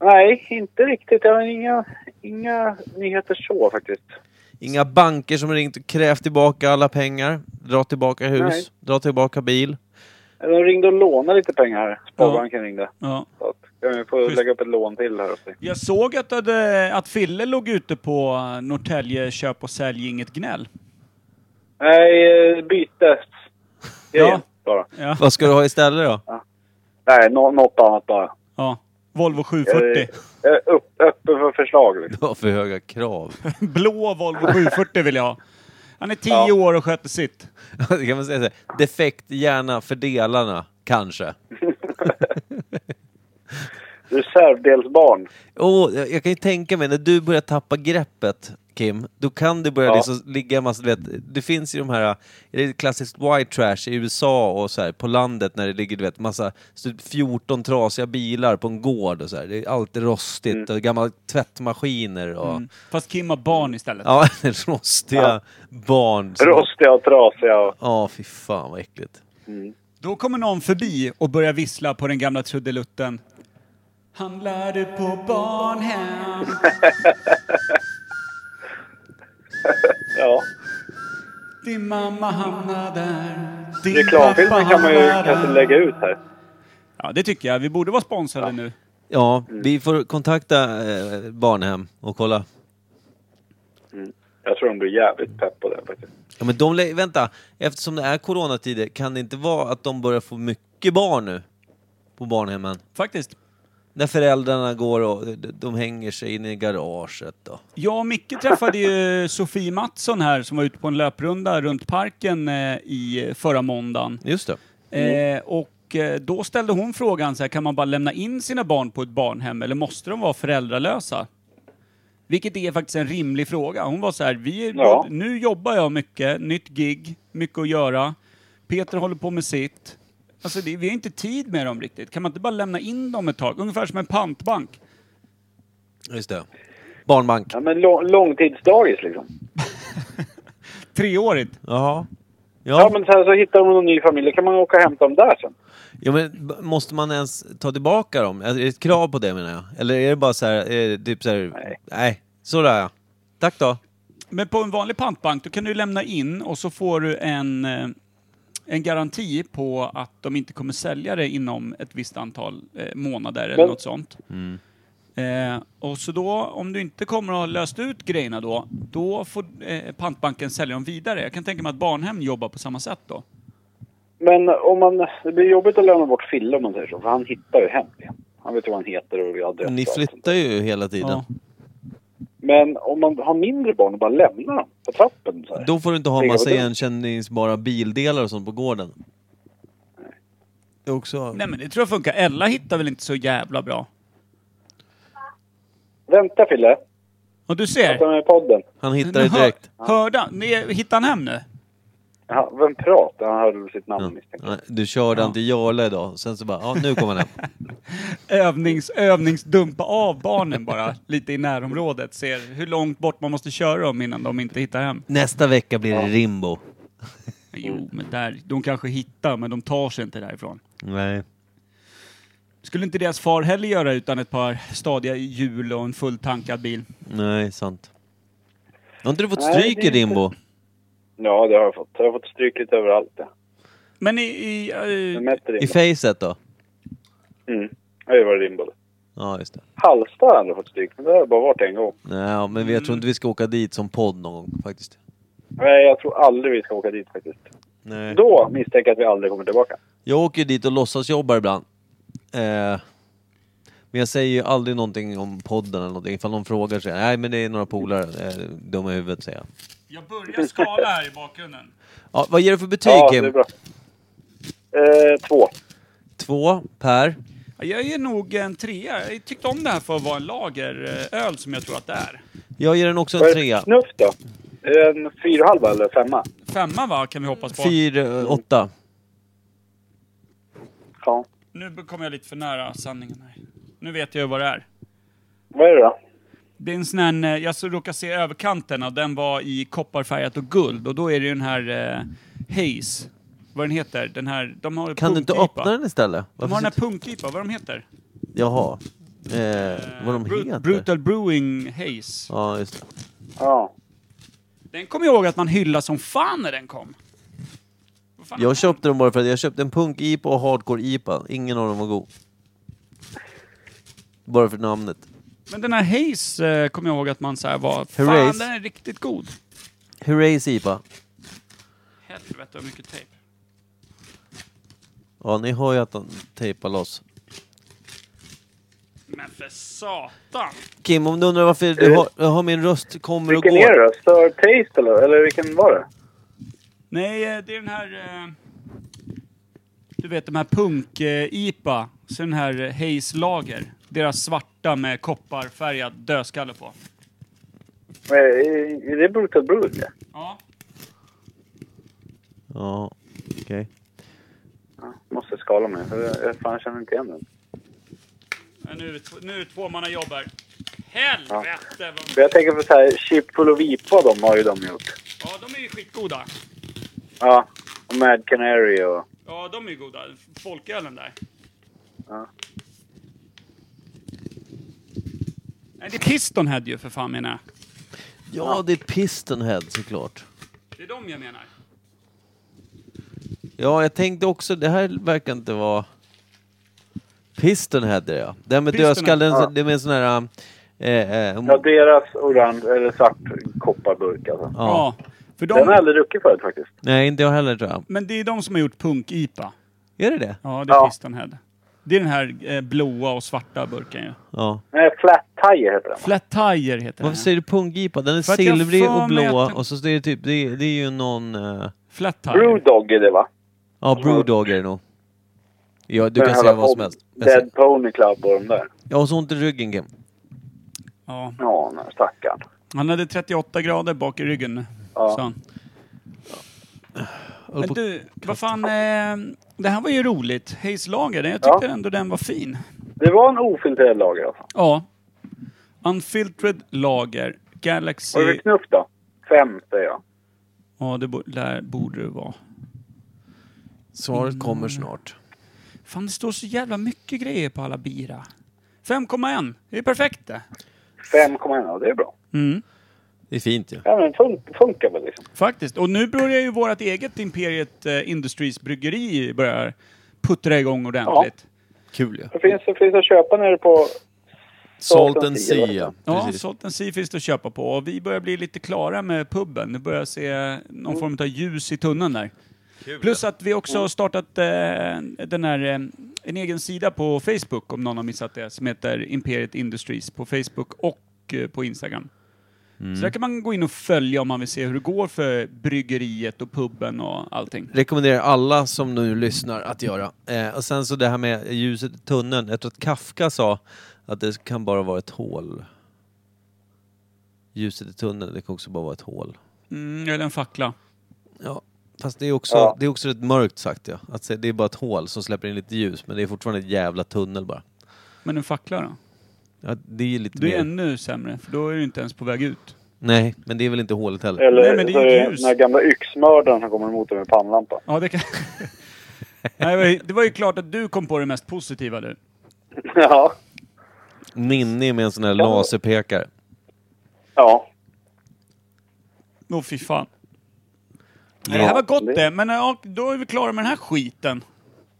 E: Nej, inte riktigt. Jag har inga, inga nyheter så faktiskt.
A: Inga banker som ringt och krävt tillbaka alla pengar? Dra tillbaka hus?
E: Nej.
A: Dra tillbaka bil?
E: De ringde och lånade lite pengar här. Sparbanken ringde.
B: Ja.
E: Så att jag får
B: Schysst.
E: lägga upp ett lån till här uppe.
B: Jag såg att, du hade, att Fille låg ute på eh, Norrtälje köp och sälj inget gnäll.
E: Nej, eh, byte. Ja.
B: Ja.
E: Bara.
B: Ja.
A: Vad ska du ha istället då?
E: Nej, nå- något annat bara.
B: ja. Volvo 740.
E: Jag är upp, öppen för förslag. Liksom.
A: Du har för höga krav.
B: Blå Volvo 740 vill jag ha. Han är tio år och sköter sitt.
A: Det kan man säga så här. Defekt hjärna för delarna, kanske.
E: Reservdelsbarn.
A: Åh, jag jag kan ju tänka mig, när du börjar tappa greppet, Kim, då kan det börja
E: Ja.
A: liksom ligga en massa, du vet, det finns ju de här, det är klassiskt white trash i USA och så här, på landet när det ligger, du vet, massa, så typ 14 trasiga bilar på en gård och så här. Det är alltid rostigt och gamla tvättmaskiner och,
B: Fast Kim har barn istället.
A: ja, rostiga barn. som-
E: Rostiga och trasiga. Och...
A: Ja, fy fan vad äckligt.
B: Då kommer någon förbi och börjar vissla på den gamla trudelutten. Han lärde på barnhem.
E: Ja.
B: Din mamma hamnade där. Din
E: Reklamfilmen
B: pappa
E: kan man ju
B: hamnade
E: kanske
B: där.
E: lägga ut här.
B: Ja, det tycker jag. Vi borde vara sponsrade nu.
A: Ja, vi får kontakta eh, barnhem och kolla.
E: Jag tror de blir jävligt pepp på det faktiskt.
A: Ja, men de, lä- vänta, eftersom det är coronatider, kan det inte vara att de börjar få mycket barn nu? På barnhemmen?
B: Faktiskt.
A: När föräldrarna går och de- de hänger sig in i garaget då.
B: Jag och Micke träffade ju Sofie Mattsson här som var ute på en löprunda runt parken eh, i förra måndagen.
A: Just det.
B: Eh, och eh, då ställde hon frågan så här, kan man bara lämna in sina barn på ett barnhem eller måste de vara föräldralösa? Vilket är faktiskt en rimlig fråga. Hon var så här, vi är,
E: Ja.
B: nu jobbar jag mycket, nytt gig, mycket att göra. Peter håller på med sitt. Alltså det, vi har inte tid med dem riktigt. Kan man inte bara lämna in dem ett tag? Ungefär som en pantbank.
A: Just det. Barnbank.
E: Ja, men lång, långtidsdagis liksom.
B: Treårigt.
A: Jaha.
E: Ja.
A: Ja,
E: men sen så hittar de någon ny familj. Då kan man åka och hämta dem där sen.
A: ja, men b- måste man ens ta tillbaka dem? Är det ett krav på det menar jag? Eller är det bara så här, är det typ så här, nej,
E: Nej.
A: sådär ja. Tack då.
B: Men på en vanlig pantbank då kan du lämna in och så får du en, eh, en garanti på att de inte kommer sälja det inom ett visst antal eh, månader eller
E: Men-
B: något sånt. Eh, och så då, om du inte kommer att ha löst ut grejerna då, då får eh, pantbanken sälja dem vidare. Jag kan tänka mig att barnhem jobbar på samma sätt då.
E: Men om man, det blir jobbigt att lämna bort Fille om man säger så. För han hittar ju hem igen. Han vet ju vad han heter och adress
A: Ni
E: och allt sånt.
A: flyttar ju hela tiden.
B: Ja.
E: Men om man har mindre barn och bara lämnar dem på trappen så här.
A: Då får du inte ha
E: Ligga på
A: massa
E: dörren.
A: igenkänningsbara bildelar och sånt på gården. Det är också...
B: Nej men det tror jag funkar. Ella hittar väl inte så jävla bra.
E: Vänta Fille,
B: Och du ser!
E: prata med podden.
A: Han hittar det
B: Hör-
A: direkt.
B: Hörde han? Ni- Hittade han hem nu?
E: Ja, vem pratar? Han hörde väl sitt namn
A: Ja.
E: misstänker jag.
A: Nej, Du körde han till Jarle idag, sen så bara, ja nu kommer han hem.
B: övnings, övningsdumpa av barnen bara lite i närområdet. Ser hur långt bort man måste köra dem innan de inte hittar hem.
A: Nästa vecka blir det Rimbo.
B: Jo, men där, de kanske hittar, men de tar sig inte därifrån.
A: Nej.
B: Skulle inte deras far heller göra utan ett par stadiga hjul och en fulltankad bil.
A: Nej, sant. Har inte du fått
E: Nej,
A: stryk
E: det
A: i
E: är inte-
A: Rimbo?
E: Ja, det har jag fått. Jag har fått stryk lite överallt. ja.
B: Men i... i eh,
E: Jag mäter
A: I
E: in.
A: facet då?
E: Mm. Det var rimbo.
A: Ja, just det.
E: Halsta har jag aldrig fått stryk, men det har bara varit en gång.
A: Nej, ja, men jag tror
E: Mm.
A: inte vi ska åka dit som podd någon gång faktiskt.
E: Nej, jag tror aldrig vi ska åka dit faktiskt.
A: Nej.
E: Då misstänker jag att vi aldrig kommer tillbaka.
A: Jag åker ju dit och låtsasjobbar ibland. Eh, men jag säger ju aldrig någonting om podden eller någonting. Ifall någon frågar så säger jag, nej men det är några polare, eh, dumma i huvudet säger jag.
B: jag börjar skala här i bakgrunden.
A: Ja, vad ger du för betyg
E: Ja, det är
A: Kim?
E: bra. Eh, två.
A: Två per?
B: Jag är nog en trea. Jag tyckte om det här för att vara en lageröl som jag tror att det är.
A: Jag ger den också
E: Vad
A: en
E: är det
A: trea.
E: för Snuff då? En fyra och halva eller femma?
B: Femma va, kan vi hoppas på.
A: Fyra, eh, åtta.
E: Ja.
B: Nu kommer jag lite för nära sanningen här. Nu vet jag ju vad det är.
E: Vad är det då?
B: Det är en sån här, eh, jag så råkade se överkanten och den var i kopparfärgat och guld och då är det ju den här eh, Haze, vad den heter, den här, de har
A: Kan du inte
B: punkipa.
A: öppna den istället?
B: De
A: Varför
B: har den här
A: sitter-
B: punkipa, vad de heter?
A: Jaha. Eh, vad de
B: Brut-
A: heter?
B: Brutal Brewing Haze.
A: Ja, just det.
E: Ja.
B: Den kommer jag ihåg att man hyllade som fan när den kom. Vad fan är
A: Jag
B: det?
A: köpte dem bara för att jag köpte en punk-IPA och hardcore-IPA. Ingen av dem var god. Bara för namnet.
B: Men den här Haze eh, kommer jag ihåg att man så här var, fan
A: Haze.
B: den är riktigt god.
A: Hurrays IPA.
B: Helvete vad mycket tejp.
A: Ja, ni hör ju att han tejpar loss.
B: Men för satan!
A: Kim, om du undrar varför du
E: Eh.
A: har, jag har min röst kommer och
E: Vilken är
A: går.
E: det då? Sir Taste eller, eller vilken var det?
B: Nej, eh, det är den här... eh, Du vet de här punk-IPA, så den här eh, Haze Lager. Deras svarta med kopparfärgad dödskalle på.
E: Eh, Är är det Brutal Brood? Ja.
B: Ja.
A: Ja, okej.
E: Ja, Måste skala mig. för Jag, jag fan känner inte igen den.
B: men Nu är det, tv- nu är det två man jobbar. Helvete! vad-
E: För jag tänker på så här, Chip Full of Ipa, de har ju de gjort.
B: Ja, de är ju skitgoda.
E: Ja. Och Mad Canary och...
B: Ja, de är ju goda. Folkölen där.
E: Ja.
B: Nej, det är Pistonhead ju för fan menar jag.
A: Ja, det är Pistonhead såklart.
B: Det är de jag menar.
A: Ja, jag tänkte också, det här verkar inte vara... Pistonhead är det ja. Det här med
B: Pistonhead,
A: dödskallen,
E: ja.
A: det är med en sån här... eh, eh,
E: Ja, deras orange eller svart kopparburk alltså.
A: ja.
B: Ja. För
E: Den har jag
B: de,
E: aldrig druckit förut faktiskt.
A: Nej, inte jag heller tror jag.
B: men det är de som har gjort punk-IPA.
A: Är det det?
B: Ja, det är
E: Ja.
B: Pistonhead. Det är den här eh, blåa och svarta burken ju.
A: Ja.
E: Nej, Flat Tire heter den.
B: Flat Tire heter
A: Varför
B: den.
A: säger du punggipa? Den är
B: För att jag
A: silvrig
B: för mig
A: och blå
B: att-
A: och så är det typ, det är, det är ju någon... eh,
B: Flat Tire.
E: Brewdog är det va?
A: ja, Brewdog är det nog. Ja, du
E: Den
A: kan
E: här
A: säga vad som
E: pon-
A: helst. Jag säger-
E: Dead Pony Club och de där.
A: Jag har så ont i ryggen Kim.
B: Ja.
E: Ja, nej, stackarn.
B: Han hade 38 grader bak i ryggen.
E: Ja.
B: sa han.
A: Jag håller
B: Men
A: på-
B: du, vad fan. Eh, det här var ju roligt. Hayes Lager, den- jag tyckte
E: Ja.
B: ändå den var fin.
E: Det var en ofiltrerad lager alltså.
B: Ja. Unfiltered Lager.
E: Vad är det
B: Galaxy.
E: för knuff då? Fem säger jag.
B: Ja, det bo- där borde det vara.
A: Svaret kommer snart.
B: Fan, det står så jävla mycket grejer på alla bira. 5,1. Det är perfekt det.
E: 5,1, ja det är bra.
B: Mm.
A: Det är fint ju.
E: Ja men fun- funkar väl liksom.
B: Faktiskt. Och nu börjar ju vårt eget Imperiet eh, Industries bryggeri börjar puttra igång ordentligt.
A: Kul ju.
E: Det finns, det finns att köpa nere på...
A: Salt
E: Salt
A: and
E: and
A: Sea
E: Sea,
A: ja.
B: Ja,
A: Precis.
B: Salt and Sea finns det att köpa på. Och vi börjar bli lite klara med puben. Nu börjar jag se någon form av ljus i tunneln där. Plus att vi också har startat eh, den här, eh, en egen sida på Facebook, om någon har missat det, som heter Imperiet Industries på Facebook och eh, på Instagram. Så där kan man gå in och följa om man vill se hur det går för bryggeriet och puben och allting.
A: Rekommenderar alla som nu lyssnar att göra. Eh, och sen så det här med ljuset i tunneln. Jag tror att Kafka sa att det kan bara vara ett hål. Ljuset i tunneln, det kan också bara vara ett hål.
B: Mm, eller en fackla.
A: Ja, fast det är också,
E: Ja.
A: det är också rätt mörkt sagt ja. Att säga, det är bara ett hål som släpper in lite ljus men det är fortfarande ett jävla tunnel bara.
B: Men en fackla då?
A: Ja, det är ju lite
B: Du
A: mer...
B: är ännu sämre, för då är du inte ens på väg ut.
A: Nej, men det är väl inte hålet heller.
E: Eller
B: Nej, men det är
E: så
B: ju
E: är
B: ljus.
E: den här gamla yxmördaren som kommer emot dig med pannlampa.
B: Ja, det kan... Nej, det var ju- det var ju klart att du kom på det mest positiva du.
E: ja.
A: Ninni med en sån här
E: Ja.
A: laserpekare.
E: Ja.
B: Åh fy fan. Nej, det här var gott det, men ja, då är vi klara med den här skiten.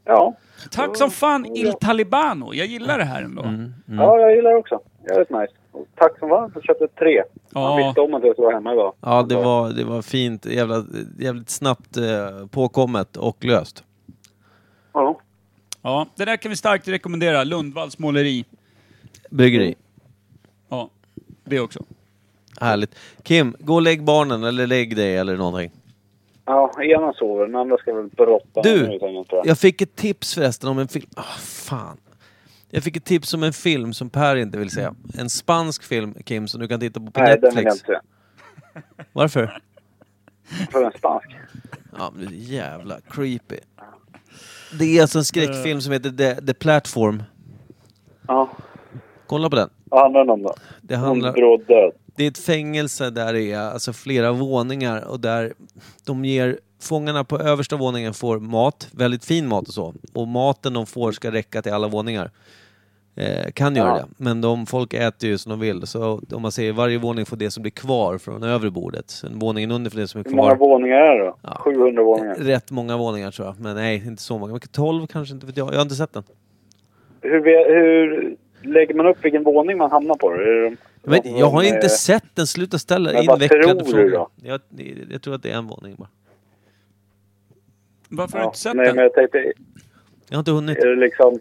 E: Ja.
B: Tack som fan Il Talibano, jag gillar det här ändå.
E: Ja, jag gillar det också. Jävligt nice. Och tack som fan för att du köpte tre.
B: Ja.
E: Han visste om att jag skulle vara hemma idag.
A: Ja, det var, det var fint. Jävla, jävligt snabbt eh, påkommet och löst.
E: Ja.
B: Ja, det där kan vi starkt rekommendera, Lundvalls måleri.
A: Bryggeri.
B: Ja, det också.
A: Härligt. Kim, gå och lägg barnen eller lägg dig eller någonting.
E: Ja, ena sover. Den andra ska väl brotta
A: Du,
E: nu, tänker jag, tror jag.
A: Jag fick ett tips förresten om en film. Ah, fan. Jag fick ett tips om en film som Per inte vill se. En spansk film, Kim, som du kan titta på på
E: Nej, den vill jag
A: Netflix.
E: inte se.
A: Varför?
E: För en spansk.
A: Ja, men det är jävla creepy. Det är alltså en skräckfilm som heter The, The Platform.
E: Ja.
A: Kolla på den.
E: Vad handlar den om då?
A: Det
E: Hon
A: handlar...
E: bråd död.
A: Det är ett fängelse där det är alltså flera våningar och där de ger fångarna på översta våningen får mat, väldigt fin mat och så. Och maten de får ska räcka till alla våningar. Eh, kan göra
E: Ja.
A: det, men de, folk äter ju som de vill. Så om man säger varje våning får det som blir kvar från övre bordet. Sen våningen under får det som är
E: Hur många
A: kvar.
E: våningar är det då?
A: Ja. Eh,
E: 700 våningar.
A: Rätt många våningar tror jag, men nej, inte så många. Men 12 kanske, inte vet jag. Jag har inte sett den.
E: Hur, ve- hur lägger man upp vilken våning man hamnar på? Är det de,
A: Men jag har
E: de, eh,
A: inte sett den, sluta ställa
E: Men vad tror
A: invecklade
E: du
A: frågor.
E: då?
A: Jag, jag tror att det är en våning bara.
B: Varför har du
E: Ja,
B: inte sett
E: nej,
B: den?
E: men jag tänkte,
A: Jag har inte hunnit.
E: är det liksom...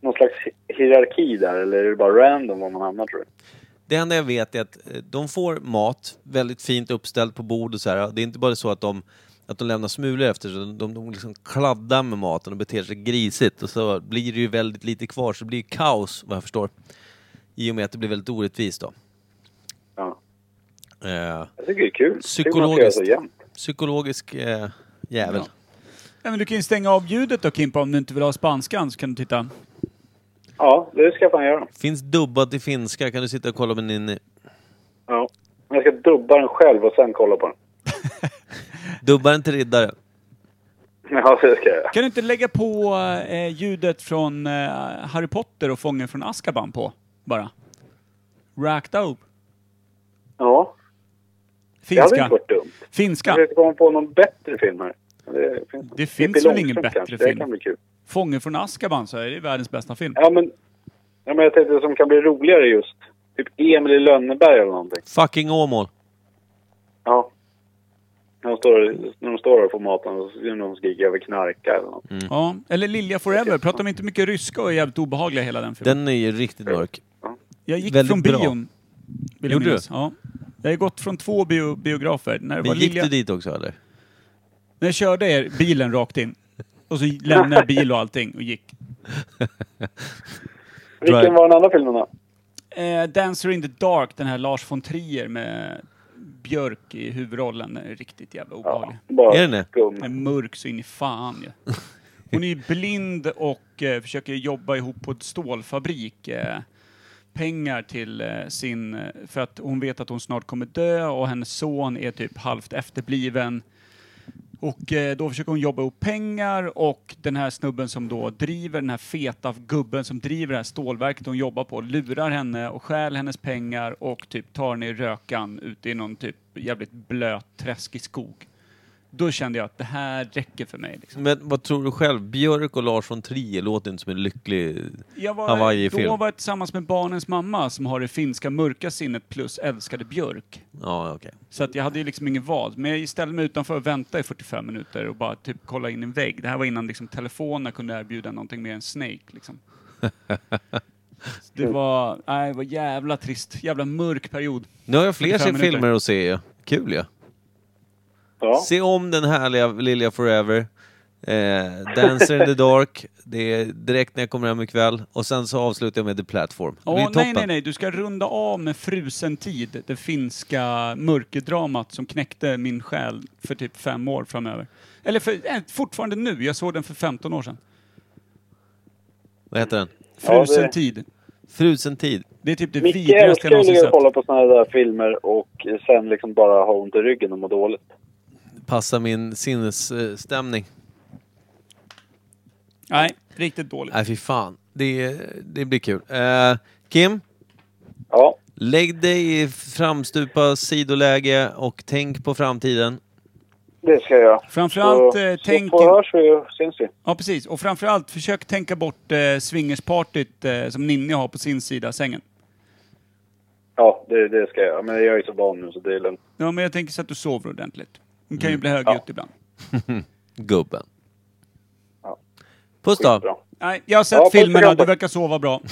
E: någon slags hierarki där eller är det bara random var man hamnar tror du?
A: Det enda jag vet är att eh, de får mat väldigt fint uppställt på bord och så här. Det är inte bara så att de, att de lämnar smulor efter sig. De, de, de liksom kladdar med maten och beter sig grisigt. Och så blir det ju väldigt lite kvar, så det blir ju kaos vad jag förstår. I och med att det blir väldigt orättvist då.
E: Ja.
A: Eh,
E: Jag tycker det är kul. Tycker man ska göra
A: psykologiskt.
E: så jämt.
A: Psykologisk eh, jävel.
B: Ja. Nej, men du kan ju stänga av ljudet då Kimpa om du inte vill ha spanskan så kan du titta.
E: Ja, det ska jag fan göra.
A: Finns dubbad till finska, kan du sitta och kolla med din...
E: Ja. Men Jag ska dubba den själv och sen kolla på den.
A: Dubbaren till riddare.
E: Ja, det ska jag göra.
B: Kan du inte lägga på eh, ljudet från eh, Harry Potter och Fången från Azkaban på bara? Racked up.
E: Ja, det hade
B: Finska.
E: inte varit dumt. Jag
B: Finska.
E: försökte komma på någon bättre film här. Men Det finns,
B: Det finns
E: Pippi
B: väl ingen
E: Långstrump
B: bättre
E: kanske.
B: film?
E: Det kan bli kul.
B: Fången från Azkaban så är det världens bästa film.
E: Ja, men, ja, men jag tänkte som kan bli roligare just. Typ Emil i Lönneberg eller någonting.
A: Fucking Åmål.
E: Ja. När de står, när de står där på maten och så ser de skrika över knarka eller något.
A: Mm.
B: Ja. Eller Lilja Forever. Pratar de inte mycket ryska och är jävligt obehagliga hela den filmen?
A: Den är ju riktigt mörk.
B: jag gick
A: väldigt
B: från
A: bra.
B: bion. vill jag
A: Gjorde du?
B: minnas. Ja. Jag har gått från två bio, biografer. När, det var
A: Men gick
B: Lilja,
A: du dit också eller?
B: när jag körde er bilen rakt in. Och så lämnade jag bil och allting och gick.
A: Drive.
E: Vilken var den andra filmen då?
B: Eh, Dancer in the Dark, den här Lars von Trier med Björk i huvudrollen. Den är riktigt jävla obehaglig.
E: Bara
A: Är den det?
E: skum.
B: Den är mörk så in i fan ju. Hon är ju blind och eh, försöker jobba ihop på ett stålfabrik. Eh, pengar till eh, sin... eh, För att hon vet att hon snart kommer dö och hennes son är typ halvt efterbliven. Och eh, då försöker hon jobba ihop pengar och den här snubben som då driver, den här feta gubben som driver det här stålverket hon jobbar på, lurar henne och stjäl hennes pengar och typ tar henne i rökan ute i någon typ jävligt blöt träskig skog. Då kände jag att det här räcker för mig. Liksom.
A: Men vad tror du själv? Björk och Lars von Trier låter inte som en lycklig...
B: Jag var,
A: Hawaii-film.
B: då var jag tillsammans med barnens mamma som har det finska mörka sinnet plus älskade Björk.
A: Ja, okej.
B: Så att jag hade ju liksom ingen val. Men jag ställde mig utanför och väntade i 45 minuter och bara typ kolla in i en vägg. Det här var innan liksom telefonerna kunde erbjuda någonting mer än Snake liksom. Så det var, nej, det var jävla trist. Jävla mörk period.
A: Nu har jag fler
B: 45 minuter.
A: filmer att se ju. Kul ju.
E: Ja.
A: Se om den härliga Lilja Forever. Eh, Dancer in the Dark. Det är direkt när jag kommer hem ikväll. Och sen så avslutar jag med The Platform. Det blir
B: Åh, nej,
A: toppen.
B: nej, nej. Du ska runda av med Frusen tid, det finska mörkerdramat som knäckte min själ för typ fem år framöver. Eller för, eh, fortfarande nu. Jag såg den för 15 år sedan.
A: Vad heter den?
E: Ja, det-
B: Frusen tid.
A: Frusen tid.
B: Det är typ det
E: Micke
B: vidrigaste
E: älskar
B: jag
E: ju att
B: någonsin
E: ligga och
B: sett.
E: kolla på såna här där filmer och sen liksom bara ha ont i ryggen och må dåligt.
A: Passar min sinnesstämning.
B: Nej, riktigt dåligt.
A: Nej, fy fan. Det, det blir kul. Eh, Kim?
E: Ja,
A: Lägg dig i framstupa sidoläge och tänk på framtiden.
E: det ska jag göra.
B: Framförallt
E: så,
B: eh, tänk...
E: Så får- hörs vi och syns vi.
B: Ja, precis. Och framförallt försök tänka bort eh, swingerspartyt eh, som Ninni har på sin sida av sängen.
E: Ja, det, det ska jag göra. Men jag är ju så van nu så det är lugnt.
B: Ja, men jag tänker så att du sover ordentligt. Hon
A: Mm.
B: kan ju bli högljudd ibland.
A: Gubben.
E: Ja.
A: Puss
E: Skitbra.
A: då.
B: Nej, jag har sett
E: Ja, puss och
B: filmerna.
E: kram på
B: Du
E: er.
B: verkar sova bra.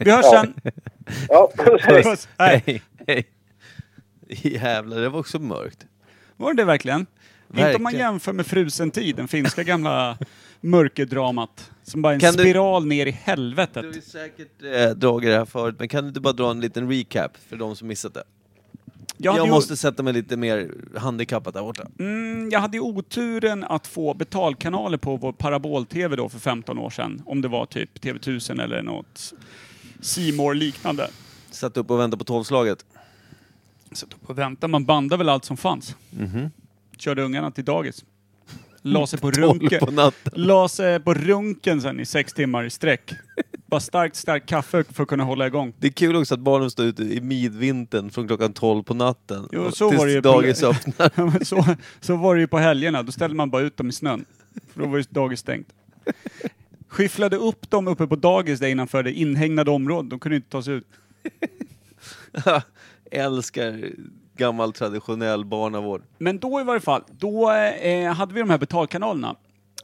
B: Vi hörs
E: Ja.
B: sen.
E: Ja, precis.
B: Puss. Nej.
A: Hej, hej. Jävlar, det var också mörkt.
B: Var det det verkligen? Inte om man
A: Verkligen.
B: jämför med Frusen tid, den finska gamla mörkerdramat. Som bara är en
A: Kan du-
B: spiral ner i
A: Du har ju
B: helvetet.
A: säkert eh, dragit det här förut, men kan du inte bara dra en liten recap för de som missat det?
B: Jag, hade
A: jag
B: ju-
A: måste sätta mig lite mer handikappat där borta.
B: Mm, jag hade ju oturen att få betalkanaler på vår parabol-tv då för 15 år sedan. Om det var typ TV1000 eller något more liknande
A: Satt upp och väntade på tolvslaget.
B: Så då på väntan, man bandade väl allt som fanns. Körde ungarna till dagis. La sig på runken.
A: på natten.
B: La sig på runken sen i sex timmar i sträck. Bara starkt, starkt kaffe för att kunna hålla igång.
A: Det är kul också att barnen står ute i midvintern från klockan 12 på natten
B: Jo,
A: och-
B: så
A: tills
B: var det ju på-
A: dagis öppnar.
B: Ja, men så, så var det ju på helgerna, då ställde man bara ut dem i snön. För då var ju dagis stängt. Skyfflade upp dem uppe på dagis där innanför det inhägnade området, de kunde inte ta sig ut.
A: Älskar gammal
B: Mm,
A: traditionell barnavård.
B: Men då i varje fall, då eh, hade vi de här betalkanalerna.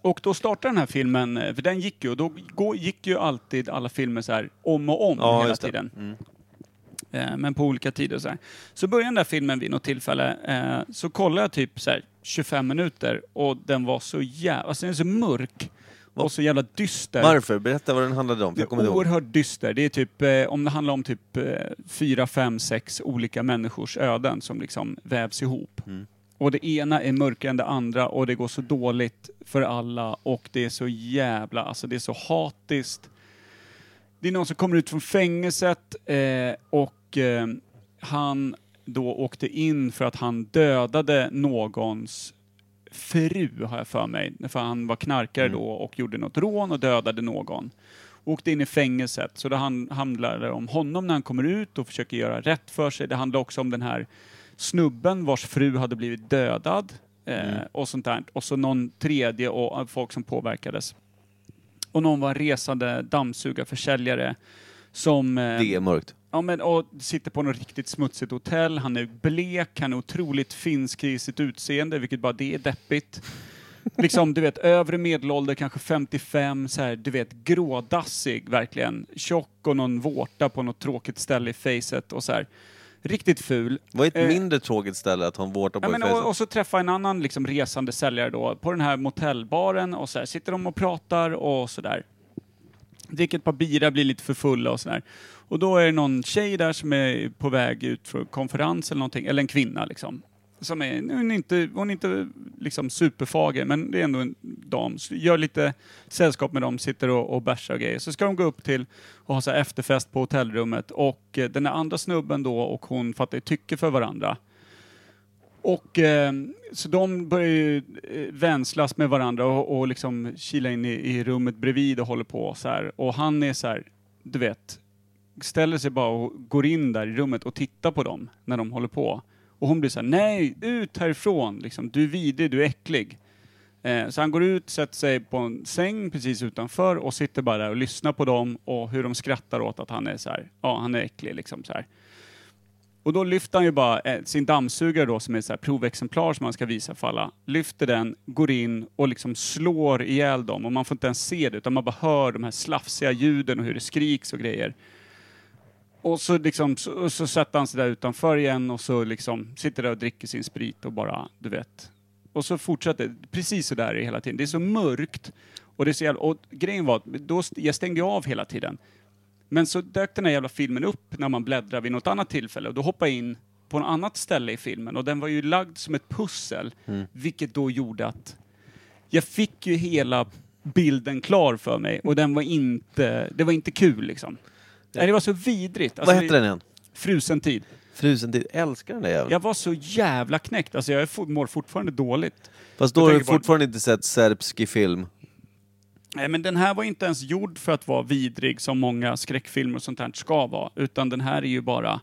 B: Och då startar den här filmen, eh, för den gick ju, och då gå- gick ju alltid alla filmer så här om och om
A: Ja,
B: hela
A: just det.
B: tiden.
A: Mm.
B: Eh, men på olika tider och så här. Så började den där filmen vid något tillfälle, eh, så kollade jag typ så här 25 minuter och den var så jävla, alltså den är så mörk och så jävla dyster.
A: Varför? Berätta vad den handlade om. för
B: Det
A: Jag kommer
B: är
A: inte ihåg.
B: oerhört dyster. Det är typ, eh, om det handlar om typ eh, fyra, fem, sex olika människors öden som liksom vävs ihop.
A: Mm.
B: Och det ena är mörkare än det andra och det går så dåligt för alla och det är så jävla, alltså det är så hatiskt. Det är någon som kommer ut från fängelset eh, och eh, han då åkte in för att han dödade någons fru har jag för mig. För han var knarkare då och gjorde något rån och dödade någon. Åkte in i fängelset. Så det han- handlar det om honom när han kommer ut och försöker göra rätt för sig. Det handlar också om den här snubben vars fru hade blivit dödad. Eh, och sånt där. Och så någon tredje och eh, folk som påverkades. Och någon var en resande dammsugarförsäljare som... eh,
A: Det är mörkt.
B: Ja, men, och sitter på något riktigt smutsigt hotell. Han är blek, han är otroligt finsk i sitt utseende, vilket bara det är deppigt. Liksom, du vet, övre medelålder, kanske 55, så här, du vet, grådassig verkligen. Tjock och någon vårta på något tråkigt ställe i facet och så här. Riktigt ful.
A: Vad är ett
B: Eh,
A: mindre tråkigt ställe att ha en vårta på
B: Ja,
A: i
B: men,
A: fejset?
B: och, och så träffa en annan liksom, resande säljare då, på den här motellbaren och så här, sitter de och pratar och sådär. Dricker ett par bira, blir lite för fulla och sådär. Och då är det någon tjej där som är på väg ut från konferens eller någonting, eller en kvinna liksom. Som är, hon är inte, hon är inte liksom superfager, men det är ändå en dam. Så gör lite sällskap med dem, sitter och, och bärsar och grejer. Så ska de gå upp till och ha så här efterfest på hotellrummet. Och eh, den där andra snubben då och hon fattar ju tycke för varandra. Och eh, så de börjar ju eh, vänslas med varandra och, och liksom kila in i, i rummet bredvid och håller på så här. Och han är så här, du vet, ställer sig bara och går in där i rummet och tittar på dem när de håller på. Och hon blir så här, nej, ut härifrån, liksom, du är vidrig, du är äcklig. Eh, så han går ut, sätter sig på en säng precis utanför och sitter bara där och lyssnar på dem och hur de skrattar åt att han är så här, ja, han är äcklig liksom så här. Och då lyfter han ju bara eh, sin dammsugare då som är så här provexemplar som han ska visa för alla. Lyfter den, går in och liksom slår ihjäl dem och man får inte ens se det utan man bara hör de här slafsiga ljuden och hur det skriks och grejer. Och så, liksom, så, så sätter han sig där utanför igen och så liksom sitter där och dricker sin sprit och bara, du vet. Och så fortsätter det. precis så där är det hela tiden. Det är så mörkt. Och, det är så jävla, och grejen var att då, st- jag stängde ju av hela tiden. Men så dök den här jävla filmen upp när man bläddrar vid något annat tillfälle och då hoppade jag in på något annat ställe i filmen och den var ju lagd som ett pussel,
A: Mm.
B: vilket då gjorde att jag fick ju hela bilden klar för mig och den var inte, det var inte kul liksom. Nej, det var så vidrigt. Alltså,
A: Vad hette den igen?
B: Frusen tid.
A: Frusen tid. Älskar den där jäveln.
B: Jag var så jävla knäckt. Alltså jag är fo- mår fortfarande dåligt.
A: Fast då
B: jag
A: har du
B: tänker på-
A: fortfarande inte sett serbski film.
B: Nej, Eh, men den här var inte ens gjord för att vara vidrig som många skräckfilmer och sånt här ska vara. Utan den här är ju bara,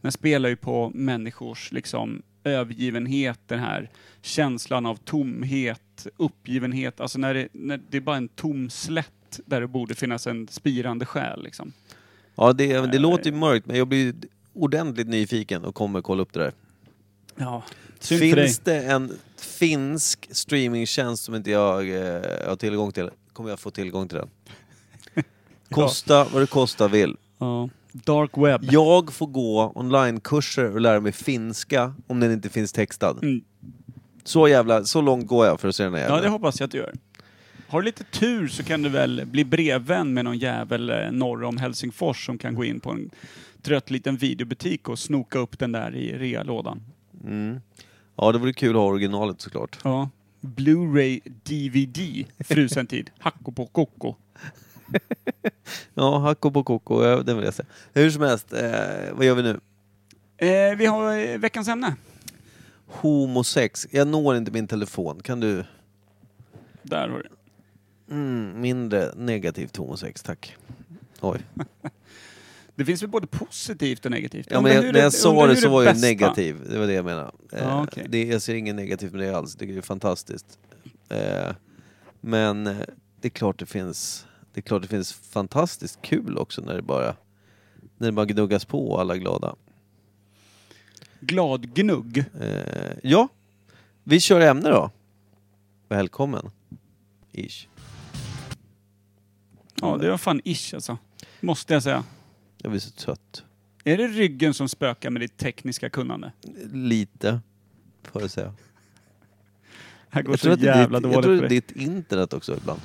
B: den spelar ju på människors liksom övergivenhet, den här känslan av tomhet, uppgivenhet. Alltså när det, när det är bara en tom slätt där det borde finnas en spirande själ liksom.
A: Ja, det, det låter ju mörkt men jag blir ordentligt nyfiken och kommer kolla upp det där.
B: Ja, synd för dig.
A: Finns det en finsk streamingtjänst som inte jag eh, har tillgång till, kommer jag få tillgång till den. Kosta vad det kosta vill.
B: Ja, dark web.
A: Jag får gå onlinekurser och lära mig finska om den inte finns textad.
B: Mm.
A: Så jävla, så långt går jag för att se den här
B: Ja, det
A: jäveln.
B: hoppas jag att du gör. Har du lite tur så kan du väl bli brevvän med någon jävel eh, norr om Helsingfors som kan gå in på en trött liten videobutik och snoka upp den där i realådan.
A: mm. ja, det vore kul att ha originalet såklart.
B: Ja. Blu-ray DVD, frusen tid. Hacko på koko.
A: Ja, hacko på koko, ja, den vill jag säga. Hur som helst, eh, vad gör vi nu?
B: Eh, vi har eh, veckans ämne.
A: Homosex. Jag når inte min telefon. Kan du...
B: Där har du.
A: Mm, mindre negativt homosex, tack. Oj.
B: Det finns väl både positivt och negativt?
A: Ja, men
B: Undrar hur
A: jag, när
B: det-
A: jag sa
B: undrar
A: det
B: hur
A: så var jag
B: bästa-
A: negativ. Det var det jag menade. Eh,
B: Ja, okej.
A: det, jag ser inget negativt med det alls. Det är ju fantastiskt. Eh, men eh, det är klart det finns... Det är klart det finns fantastiskt kul också när det bara... När det bara gnuggas på och alla är glada.
B: Glad gnugg.
A: Eh, ja, vi kör ämne då. Välkommen. Ish.
B: Ja, det var fan ish alltså. Måste jag säga.
A: Jag blir så trött.
B: Är det ryggen som spökar med ditt tekniska kunnande?
A: Lite, får jag säga.
B: Det här går
A: Jag
B: så
A: tror att det är
B: jävla
A: ditt, jag
B: dåligt
A: tror
B: för
A: det är
B: dig.
A: ditt internet också ibland.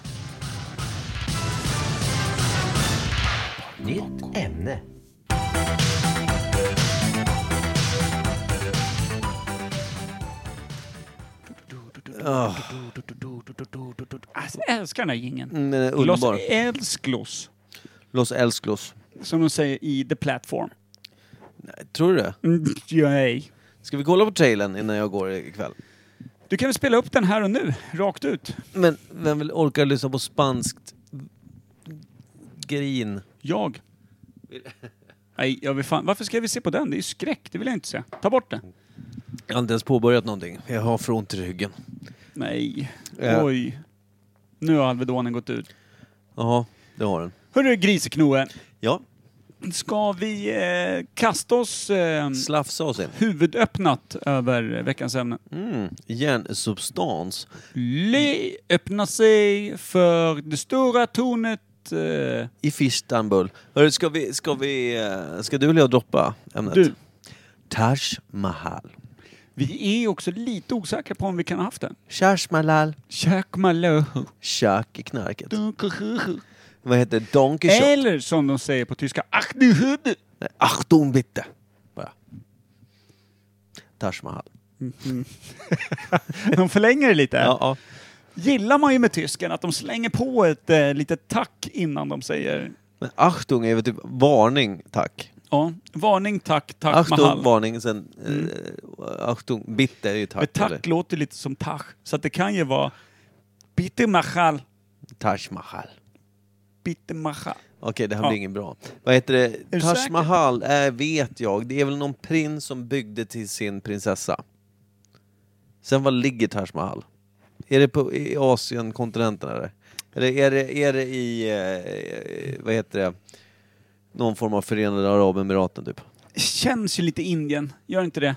F: Nytt ämne.
A: Oh,
B: Alltså, jag älskar den här jingeln.
A: Mm, den är
B: Los
A: underbar.
B: Elsklos,
A: Los Elsklos.
B: som de säger i The Platform.
A: Tror du det?
B: Mm, yay.
A: Ska vi kolla på trailern innan jag går ikväll?
B: Du kan väl spela upp den här och nu, rakt ut?
A: Men vem vill orka lyssna på spanskt grin?
B: Jag. Nej, jag vill fan. Varför ska vi se på den? Det är ju skräck, det vill jag inte se. Ta bort den.
A: Jag har inte ens påbörjat någonting. Jag har för ont i ryggen.
B: Nej.
A: Eh.
B: Oj. Nu har Alvedonen gått ut.
A: Jaha, det har den.
B: Hörru griseknoe,
A: Ja,
B: ska vi eh, kasta oss eh,
A: slafsa oss in.
B: huvudöppnat över veckans ämne?
A: Mm, järnsubstans.
B: Le öppnar sig för det stora tornet. Eh,
A: I Istanbul. Hörru, ska vi, ska vi, eh, ska du eller jag droppa ämnet?
B: du,
A: Taj Mahal.
B: vi är också lite osäkra på om vi kan ha haft den.
A: Taj Mahal.
B: Chakmalohu.
A: Kök i knarket. Vad heter det? Donkey Shot?
B: Eller som de säger på tyska, Achnuhudu.
A: Nej, Achtung bitte! Bara. Taj Mahal.
B: De förlänger det lite.
A: Ja, ja.
B: Gillar man ju med tysken att de slänger på ett eh, litet tack innan de säger
A: Men Achtung är väl typ varning, tack.
B: ja, varning, tack, tack,
A: Achtung,
B: mahal. Mm.
A: varning, sen eh, Achtung, bitte är ju
B: Men
A: tack.
B: tack
A: eller?
B: låter lite som tach, så att det kan ju vara bitte mahal,
A: Taj Mahal.
B: bitte mahal.
A: Okej, det här
B: Ja.
A: blir inget bra. Vad heter
B: du
A: det? Taj
B: säker?
A: Mahal är, vet jag, det är väl någon prins som byggde till sin prinsessa. Sen var ligger Taj Mahal? Är det på i Asien, kontinenten eller? Eller är det, är det i, eh, vad heter det, någon form av Förenade Arabemiraten typ?
B: Känns ju lite Indien, gör inte det?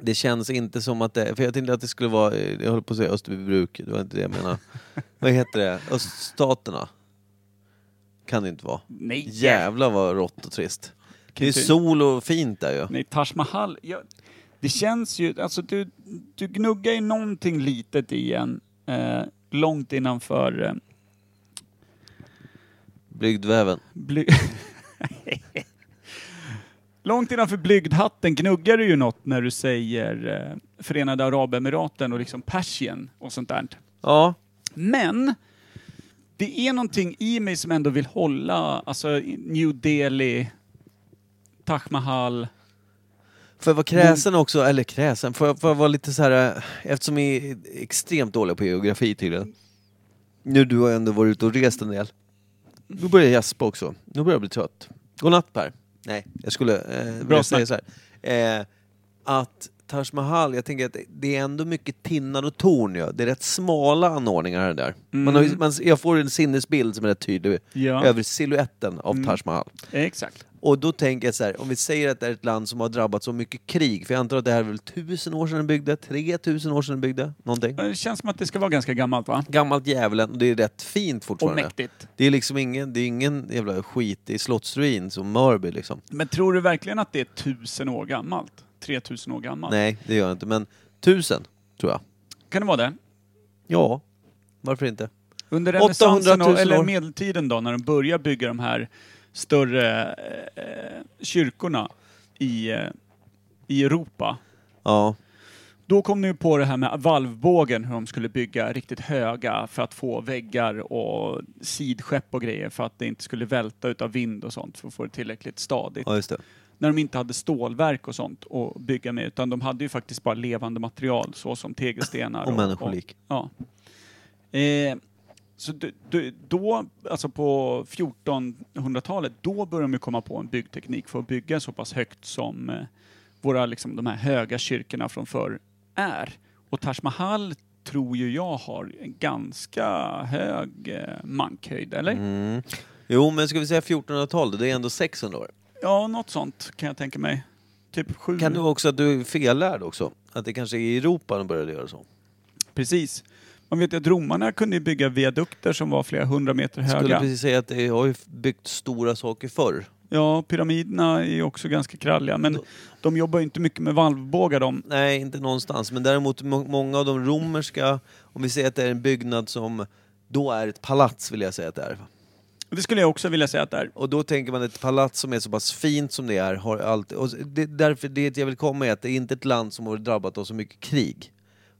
A: Det känns inte som att det, för jag tänkte att det skulle vara, eh, jag höll på att säga Österbybruk, det var inte det jag menade. vad heter det? Öststaterna? Kan det inte vara.
B: Nej.
A: Jävlar vad rått och trist. Det är
B: inte-
A: sol och fint där ju.
B: Nej, Taj Mahal. Jag, det känns ju, alltså du, du gnuggar ju någonting litet i en eh, långt innanför eh,
A: Blygdväven.
B: bly... Långt innanför blygdhatten gnuggar du ju något när du säger eh, Förenade Arabemiraten och liksom Persien och sånt där.
A: Ja.
B: Men det är någonting i mig som ändå vill hålla, alltså New Delhi, Taj Mahal.
A: Får jag vara kräsen också, eller kräsen, får jag, får jag vara lite så här eh, eftersom vi är extremt dåliga på geografi tydligen. Nu du har ändå varit ute och rest en del. Nu börjar jag gäspa också. Nu börjar jag bli trött. Godnatt Per. Nej, jag skulle eh,
B: Bra
A: vilja säga så här. Eh, att Taj Mahal, jag tänker att det är ändå mycket tinnar och torn ja. Det är rätt smala anordningar här och där. Man har, ju- man, jag får en sinnesbild som är rätt tydlig
B: Ja.
A: över siluetten av Taj Mahal.
B: Exakt.
A: Och då tänker jag så här, om vi säger att det är ett land som har drabbats så mycket krig, för jag antar att det här är väl tusen år sedan den byggde, tre tusen år sedan den byggde, någonting.
B: Eh, Det känns som att det ska vara ganska gammalt va?
A: Gammalt djävulen, och det är rätt fint
B: Och
A: fortfarande.
B: mäktigt.
A: Det är liksom ingen, det är ingen jävla skit i slottsruin som Mörby liksom.
B: Men tror du verkligen att det är tusen år gammalt? 3000 år gammalt?
A: Nej, det gör jag inte, men tusen, tror jag.
B: Kan det vara det?
A: Ja, varför inte?
B: Under
A: 800
B: renässansen
A: 000
B: och, eller
A: år.
B: medeltiden då, när de börjar bygga de här större eh, eh, kyrkorna i, eh, i Europa.
A: Ja,
B: Då kom ni ju på det här med valvbågen, hur de skulle bygga riktigt höga för att få väggar och sidskepp och grejer för att det inte skulle välta utav vind och sånt för att få det tillräckligt stadigt.
A: ja just det.
B: När de inte hade stålverk och sånt att bygga med utan de hade ju faktiskt bara levande material såsom tegelstenar
A: Och människolik.
B: Ja. Eh, så d- d- då, alltså på 1400-talet, då började de ju komma på en byggteknik för att bygga så pass högt som eh, våra, liksom, de här höga kyrkorna från förr är. Och Taj Mahal tror ju jag har en ganska hög eh, mankhöjd, eller?
A: Mm. Jo, men ska vi säga 1400-tal då? Det är ändå 600 år.
B: Ja, något sånt kan jag tänka mig. Typ sju.
A: Kan du också att du är fellärd också? Att det kanske är i Europa de började göra så?
B: Precis. Man vet ju att romarna kunde ju bygga viadukter som var flera hundra meter
A: Jag skulle
B: höga.
A: precis säga att det har ju byggt stora saker förr.
B: Ja, pyramiderna är ju också ganska kralliga men de jobbar ju inte mycket med valvbågar de.
A: Nej, inte någonstans. Men däremot må- många av de romerska, om vi säger att det är en byggnad som då är ett palats vill jag säga att det är.
B: Det skulle jag också vilja säga att det är.
A: Och då tänker man ett palats som är så pass fint som det är har alltid... Och det, därför det jag vill komma är att det är inte ett land som har drabbat av så mycket krig.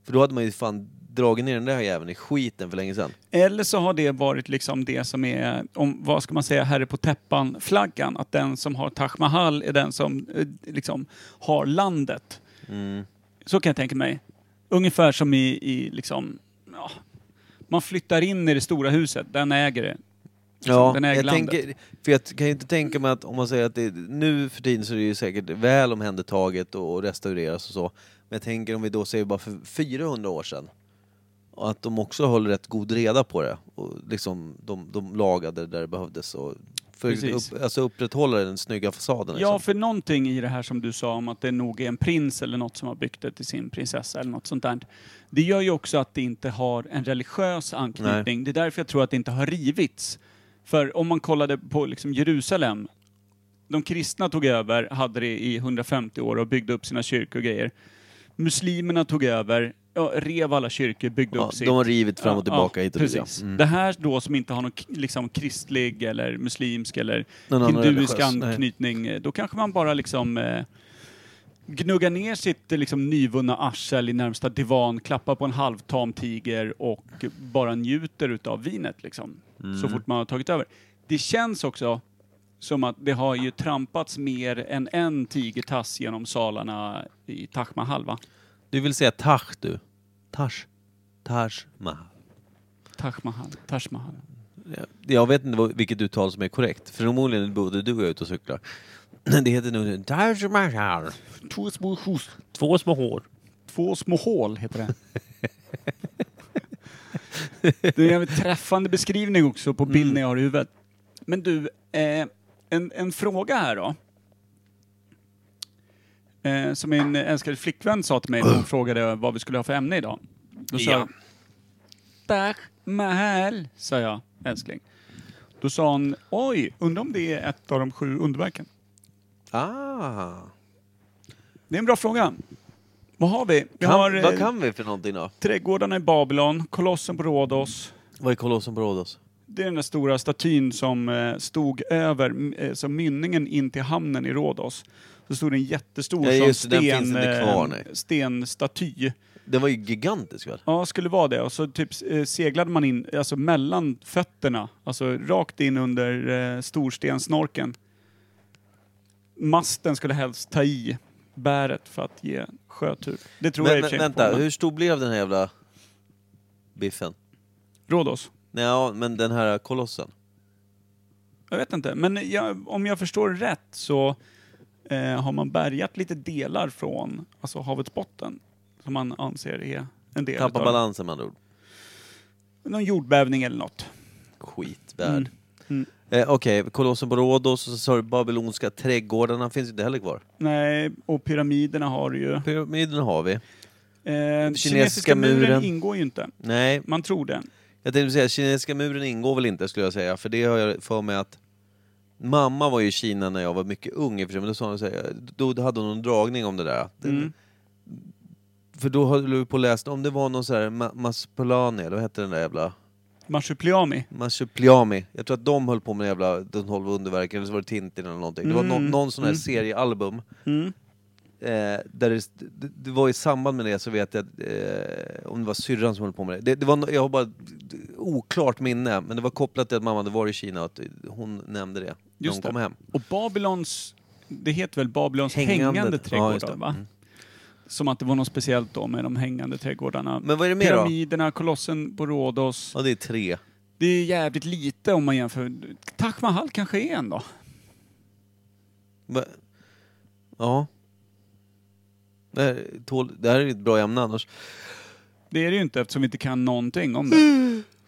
A: För då hade man ju fan dragit ner den där jäveln i skiten för länge sedan.
B: Eller så har det varit liksom det som är, om, vad ska man säga, herre på täppan-flaggan. Att den som har Taj Mahal är den som eh, liksom har landet.
A: Mm.
B: Så kan jag tänka mig. Ungefär som i, i liksom, ja, man flyttar in i det stora huset, den äger det. Liksom,
A: Ja,
B: den äger
A: jag
B: landet.
A: tänker, för jag kan ju inte tänka mig att om man säger att det, nu för tiden så är det ju säkert väl omhändertaget och, och restaureras och så. Men jag tänker om vi då säger bara för 400 år sedan. Och att de också höll rätt god reda på det. Och liksom, de, de lagade det där det behövdes. Och för
B: Precis.
A: upp, alltså upprätthålla den snygga fasaden.
B: Ja,
A: Liksom.
B: för någonting i det här som du sa om att det nog är en prins eller något som har byggt det till sin prinsessa eller något sånt där. Det gör ju också att det inte har en religiös anknytning. Det är därför jag tror att det inte har rivits. För om man kollade på liksom Jerusalem, de kristna tog över, hade det i 150 år och byggde upp sina kyrkor och grejer. Muslimerna tog över, ja, rev alla kyrkor, byggde
A: Ja,
B: upp sitt.
A: de har rivit fram och tillbaka
B: ja,
A: hit och dit, ja.
B: precis.
A: Mm.
B: Det här då som inte har någon k- liksom, kristlig eller muslimsk eller
A: Någon annan
B: hinduisk
A: religiös, nej.
B: anknytning, eh, då kanske man bara liksom eh, gnuggar ner sitt eh, liksom, nyvunna arsel i närmsta divan, klappar på en halvtam tiger och bara njuter utav vinet liksom,
A: Mm.
B: så fort man har tagit över. Det känns också som att det har ju trampats mer än en tigertass genom salarna i Taj Mahal, va?
A: Du vill säga Taj du? Taj? Taj Mahal.
B: Taj Mahal, Taj Mahal.
A: Jag vet inte vad- vilket uttal som är korrekt. Förmodligen är både du och jag ute och cyklar. Det heter nu Taj Mahal.
B: Två små hus.
A: Två små hår.
B: Två små hål heter det. det är en jävligt träffande beskrivning också på bilden jag har i huvudet. Men du, eh, en, en fråga här då. Eh, som min älskade flickvän sa till mig när hon frågade vad vi skulle ha för ämne idag. Då sa
A: Ja.
B: jag... Taj Mahal, sa jag, älskling. Då sa hon, oj, undrar om det är ett av de sju underverken.
A: Ah.
B: Det är en bra fråga. Vad har vi? Vi
A: Kan,
B: har eh,
A: vad kan vi för någonting då?
B: trädgårdarna i Babylon, kolossen på Rhodos.
A: Vad är Kolossen på Rhodos?
B: Det är den där stora statyn som eh, stod över m- eh, som mynningen in till hamnen i Rhodos. Så stod det en jättestor
A: Ja,
B: sån
A: just det, den
B: sten,
A: finns inte kvar,
B: eh,
A: nej.
B: stenstaty.
A: Den var ju gigantisk väl?
B: Ja, skulle vara det. Och så typ eh, seglade man in, alltså mellan fötterna, alltså rakt in under eh, storstensnorken. Masten skulle helst ta i bäret för att ge sjötur. Det tror jag i och
A: Men,
B: för sig
A: men
B: inte på,
A: vänta,
B: men-
A: hur stor blev den här jävla biffen?
B: Rhodos.
A: Nej, ja, men den här kolossen.
B: Jag vet inte, men jag, om jag förstår rätt så eh, har man bärgat lite delar från alltså havets botten som man anser är en del
A: Tappar
B: utav-
A: balansen med andra ord.
B: Någon jordbävning eller något.
A: Skitvärd.
B: Mm. Mm.
A: Eh, Okej, Kolossen på Rhodos och så sa du babylonska trädgårdarna finns ju inte heller kvar.
B: Nej, och pyramiderna har ju... Eh,
A: Pyramiderna har vi.
B: kinesiska,
A: muren.
B: muren. ingår ju inte.
A: Nej,
B: Man tror det.
A: jag tänkte säga kinesiska muren ingår väl inte skulle jag säga, för det har jag för mig att Mamma var ju i Kina när jag var mycket ung i och för sig, men då sa hon så här, då hade hon en dragning om det där. Det-
B: Mm.
A: För då höll du på att läsa, om det var någon sån här Ma- Maspolani, eller vad hette den där jävla?
B: Marsupilami.
A: Masupliami. Jag tror att de höll på med jävla De tolv underverken, eller så var det Tintin eller någonting. Det var
B: Mm.
A: no- någon sån här
B: Mm.
A: seriealbum.
B: Mm.
A: Eh, där det, det, det var i samband med det så vet jag att, eh, om det var syrran som höll på med det. det, det var, no- jag har bara d- oklart minne, men det var kopplat till att mamma hade varit i Kina och att hon nämnde det när
B: Just
A: hon kom
B: det.
A: hem.
B: Och Babylons... Det heter väl Babylons
A: Hängande.
B: hängande,
A: Ja,
B: trädgårdar,
A: just det.
B: va?
A: Mm.
B: Som att det var något speciellt då med de hängande trädgårdarna.
A: Men vad är det mer då?
B: Pyramiderna, kolossen på Rhodos.
A: Ja, det är tre.
B: Det är jävligt lite om man jämför. Taj Mahal kanske är en då?
A: Va? Ja. Det här, tål, det här är ett bra ämne annars.
B: Det är det ju inte eftersom vi inte kan någonting om det.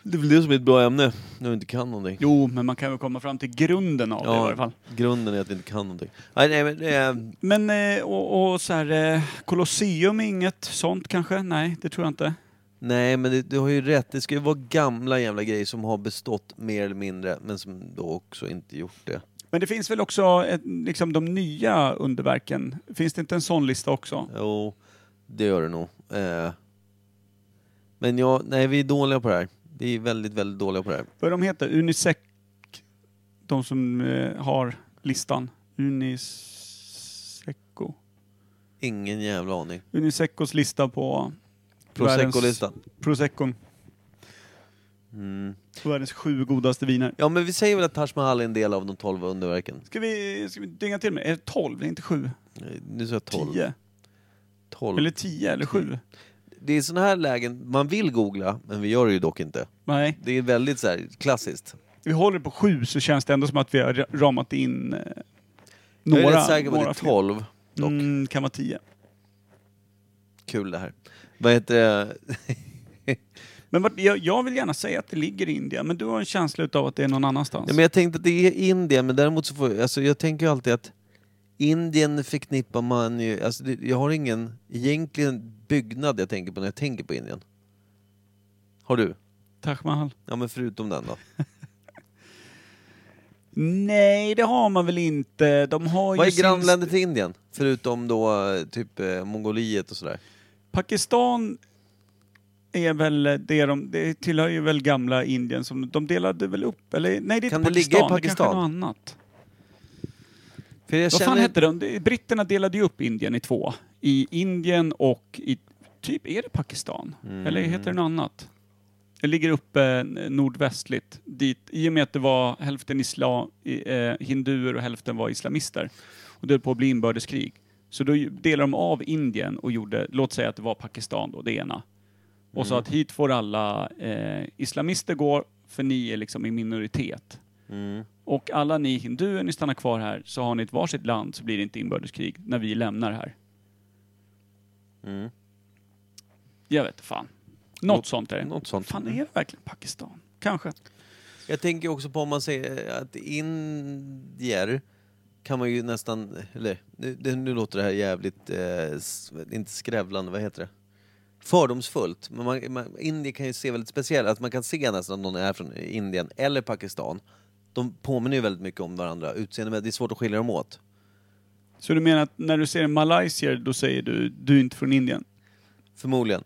A: Det är väl det som är ett bra ämne, när vi inte kan någonting.
B: Jo, men man kan väl komma fram till grunden av det i varje fall.
A: grunden är att vi inte kan någonting. Nej, nej men eh,
B: Men eh, och, och så här, eh, Colosseum är inget sånt kanske? Nej, det tror jag inte.
A: Nej, men det, du har ju rätt. Det ska ju vara gamla jävla grejer som har bestått mer eller mindre, men som då också inte gjort det.
B: Men det finns väl också ett, liksom de nya underverken? Finns det inte en sån lista också?
A: Jo, det gör det nog. Eh. Men ja, nej vi är dåliga på det här. Vi är väldigt, väldigt dåliga på det här.
B: Vad de heter? Unisec? De som eh, har listan. Uniseco?
A: Ingen jävla aning.
B: Unisecos lista på...
A: Prosecco-listan.
B: världens- Prosecco.
A: Mm.
B: På världens sju godaste viner.
A: Ja, men vi säger väl att Taj Mahal är en del av de tolv underverken.
B: Ska vi, ska vi dynga till med? Är det 12? Det är inte 7?
A: Eh, Nu sa jag tolv.
B: 10?
A: Tolv.
B: Eller 10 eller 7?
A: Det är sådana här lägen man vill googla, men vi gör det ju dock inte.
B: Nej.
A: Det är väldigt så här klassiskt.
B: Vi håller på 7 så känns det ändå som att vi har ra- ramat in eh, några.
A: Några, jag är rätt säker på att det
B: några
A: är
B: fler.
A: tolv. Dock,
B: Mm, kan vara 10.
A: kul det här. Vad heter det?
B: Men vart- jag, jag vill gärna säga att det ligger i Indien, men du har en känsla utav att det är någon annanstans.
A: Ja, men jag tänkte att det är Indien, men däremot så får jag, alltså jag tänker ju alltid att Indien förknippar man ju, alltså det, jag har ingen egentligen byggnad jag tänker på när jag tänker på Indien. Har du?
B: Taj Mahal.
A: Ja men förutom den då.
B: Nej, det har man väl inte. De har
A: Vad
B: ju
A: är
B: sin-
A: grannländer till Indien? Förutom då eh, typ eh, Mongoliet och sådär.
B: Pakistan är väl det de... Det tillhör ju väl gamla Indien som... De delade väl upp, eller? Nej, det är
A: Kan
B: inte
A: det ligga i
B: Pakistan. Det, kanske är
A: Pakistan?
B: något annat.
A: För jag
B: Vad fan
A: känner-
B: hette de? Det- Britterna delade ju upp Indien i två. I Indien och i... Typ, är det Pakistan?
A: Mm.
B: Eller heter det något annat? Det ligger uppe eh, nordvästligt. Dit, I och med att det var hälften islam, i- eh, hinduer och hälften var islamister. Och det höll på att bli inbördeskrig. Så då ju- delade de av Indien och gjorde, låt säga att det var Pakistan då, det ena. Och
A: Mm.
B: sa att hit får alla eh, islamister gå, för ni är liksom i minoritet.
A: Mm.
B: Och alla ni hinduer, ni stannar kvar här, så har ni ett varsitt land så blir det inte inbördeskrig när vi lämnar här.
A: Mm.
B: Jag vet fan. Något
A: Något-
B: sånt är det.
A: Något sånt.
B: Fan, är det verkligen Pakistan? Kanske.
A: Jag tänker också på om man säger att indier kan man ju nästan, eller nu, det- nu låter det här jävligt, eh, s- inte skrävlande, vad heter det? Fördomsfullt. Men man, man, indier kan ju se väldigt speciellt, att man kan se nästan om någon är från Indien eller Pakistan. De påminner ju väldigt mycket om varandra utseendemässigt, det är svårt att skilja dem åt.
B: Så du menar att när du ser en malaysier, då säger du du är inte från Indien?
A: Förmodligen.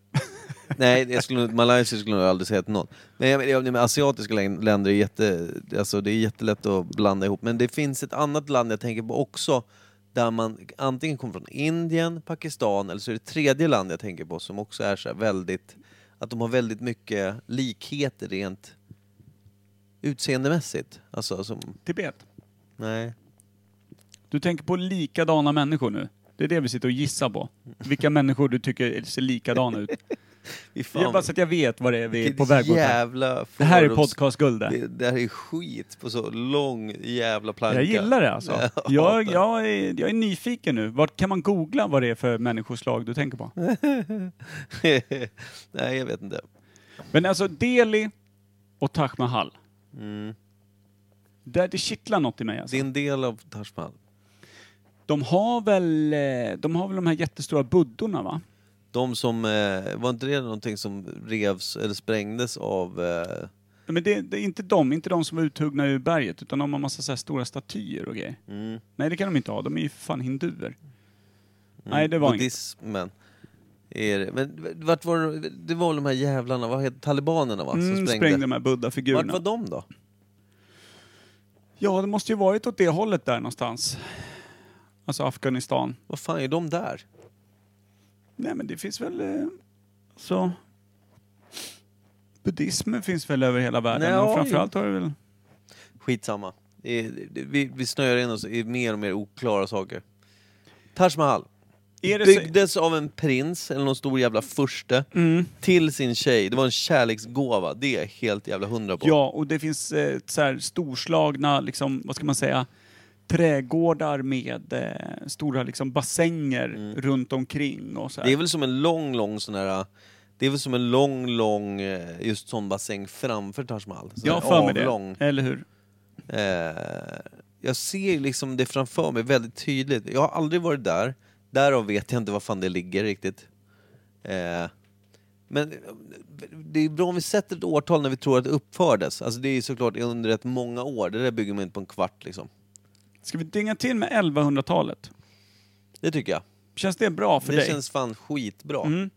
A: Nej, jag skulle, nog- Malaysia skulle jag nog aldrig säga till någon. Men jag, jag, men asiatiska län- länder är, jätte, alltså, det är jättelätt att blanda ihop. Men det finns ett annat land jag tänker på också där man antingen kommer från Indien, Pakistan eller så är det tredje land jag tänker på som också är så här väldigt... Att de har väldigt mycket likheter rent utseendemässigt. Alltså som...
B: Tibet.
A: Nej.
B: Du tänker på likadana människor nu. Det är det vi sitter och gissar på. Vilka människor du tycker ser likadana ut.
A: Fy
B: Jag bara så att jag vet vad det är vi är
A: vilket
B: på väg mot. här.
A: jävla
B: Det här är
A: fördoms-
B: podcastguld det.
A: Det, det här är skit på så lång jävla planka.
B: Jag gillar det alltså.
A: Nej, jag
B: Jag,
A: hatar det.
B: jag, är, jag är nyfiken nu. Vart kan man googla vad det är för människoslag du tänker på?
A: Nej, jag vet inte.
B: Men alltså Delhi och Taj Mahal. Där det kittlar något i mig alltså.
A: Mm. Det är en del av Taj Mahal.
B: De har väl eh, de, har väl de här jättestora buddorna va?
A: De som, eh, var inte det någonting som revs eller sprängdes av... Eh,
B: Men det, det är inte de, inte de som är uthuggna ur berget utan de har massa så här stora statyer och grejer.
A: mm,
B: Nej det kan de inte ha, de är ju för fan hinduer. Nej det var inget.
A: buddhismen. Är det. Men vart var det, det var väl de här jävlarna, vad heter talibanerna va? Som
B: Mm,
A: sprängde.
B: sprängde de här
A: vart
B: buddha-figurerna.
A: var de då?
B: Ja det måste ju varit åt det hållet där någonstans. Alltså Afghanistan.
A: Vad fan är de där?
B: Nej men det finns väl... eh, Så... Buddhismen finns väl över hela världen
A: Nej,
B: och
A: ja,
B: framförallt har det väl...
A: Skitsamma. Det är, det, vi, vi snöar in oss i mer och mer oklara saker. Taj Mahal.
B: Är det så...
A: Byggdes av en prins, eller någon stor jävla furste,
B: Mm.
A: till sin tjej. Det var en kärleksgåva, det är jag helt jävla hundra på.
B: Ja, och det finns eh, så här storslagna, liksom, vad ska man säga, trädgårdar med eh, stora liksom, bassänger runt omkring och så här.
A: Mm. Det är väl som en lång, lång sån här... Det är väl som en lång, lång eh, just sån bassäng framför Taj Mahal. Sån
B: Jag har
A: här
B: för mig
A: avlång.
B: det. Eller hur?
A: Eh, jag ser ju liksom det framför mig väldigt tydligt. Jag har aldrig varit där. Därav vet jag inte var fan det ligger riktigt. Eh, men Men eh, det är bra om vi sätter ett årtal när vi tror att det uppfördes. Alltså det är ju såklart under rätt många år. Det där bygger man inte på en kvart liksom.
B: Ska vi dynga till med 1100-talet?
A: Det tycker jag.
B: Känns det bra för
A: det
B: dig?
A: känns fan skitbra.
B: Mm.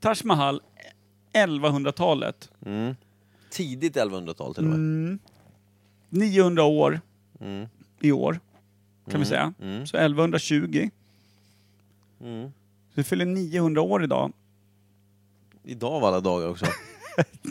B: Taj Mahal, 1100-talet.
A: Mm. Tidigt 1100-tal till och med.
B: Mm. 900 år i år, kan vi säga.
A: Mm.
B: Så 1120.
A: Mm.
B: Du fyller 900 år idag.
A: Idag av alla dagar också.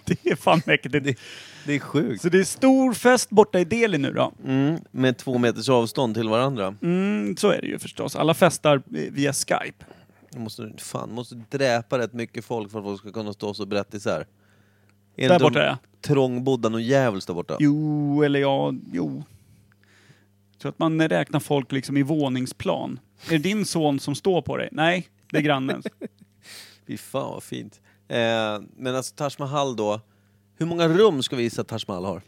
B: Det är fan mäktigt.
A: Det är sjukt.
B: Så det är stor fest borta i Delhi nu då.
A: Mm. Med två meters avstånd till varandra.
B: Mm, så är det ju förstås. Alla festar via Skype.
A: Du måste, fan, måste dräpa rätt mycket folk för att folk ska kunna stå så brett isär. Är
B: Där
A: inte
B: borta
A: de
B: ja.
A: Trångbodda och djävulskt där borta.
B: Jo, eller ja, jo. Jag tror att man räknar folk liksom i våningsplan. Är det din son som står på dig? Nej, det är grannens.
A: Fy fan vad fint. Eh, men alltså Taj Mahal då. Hur många rum ska vi gissa att Taj Mahal har?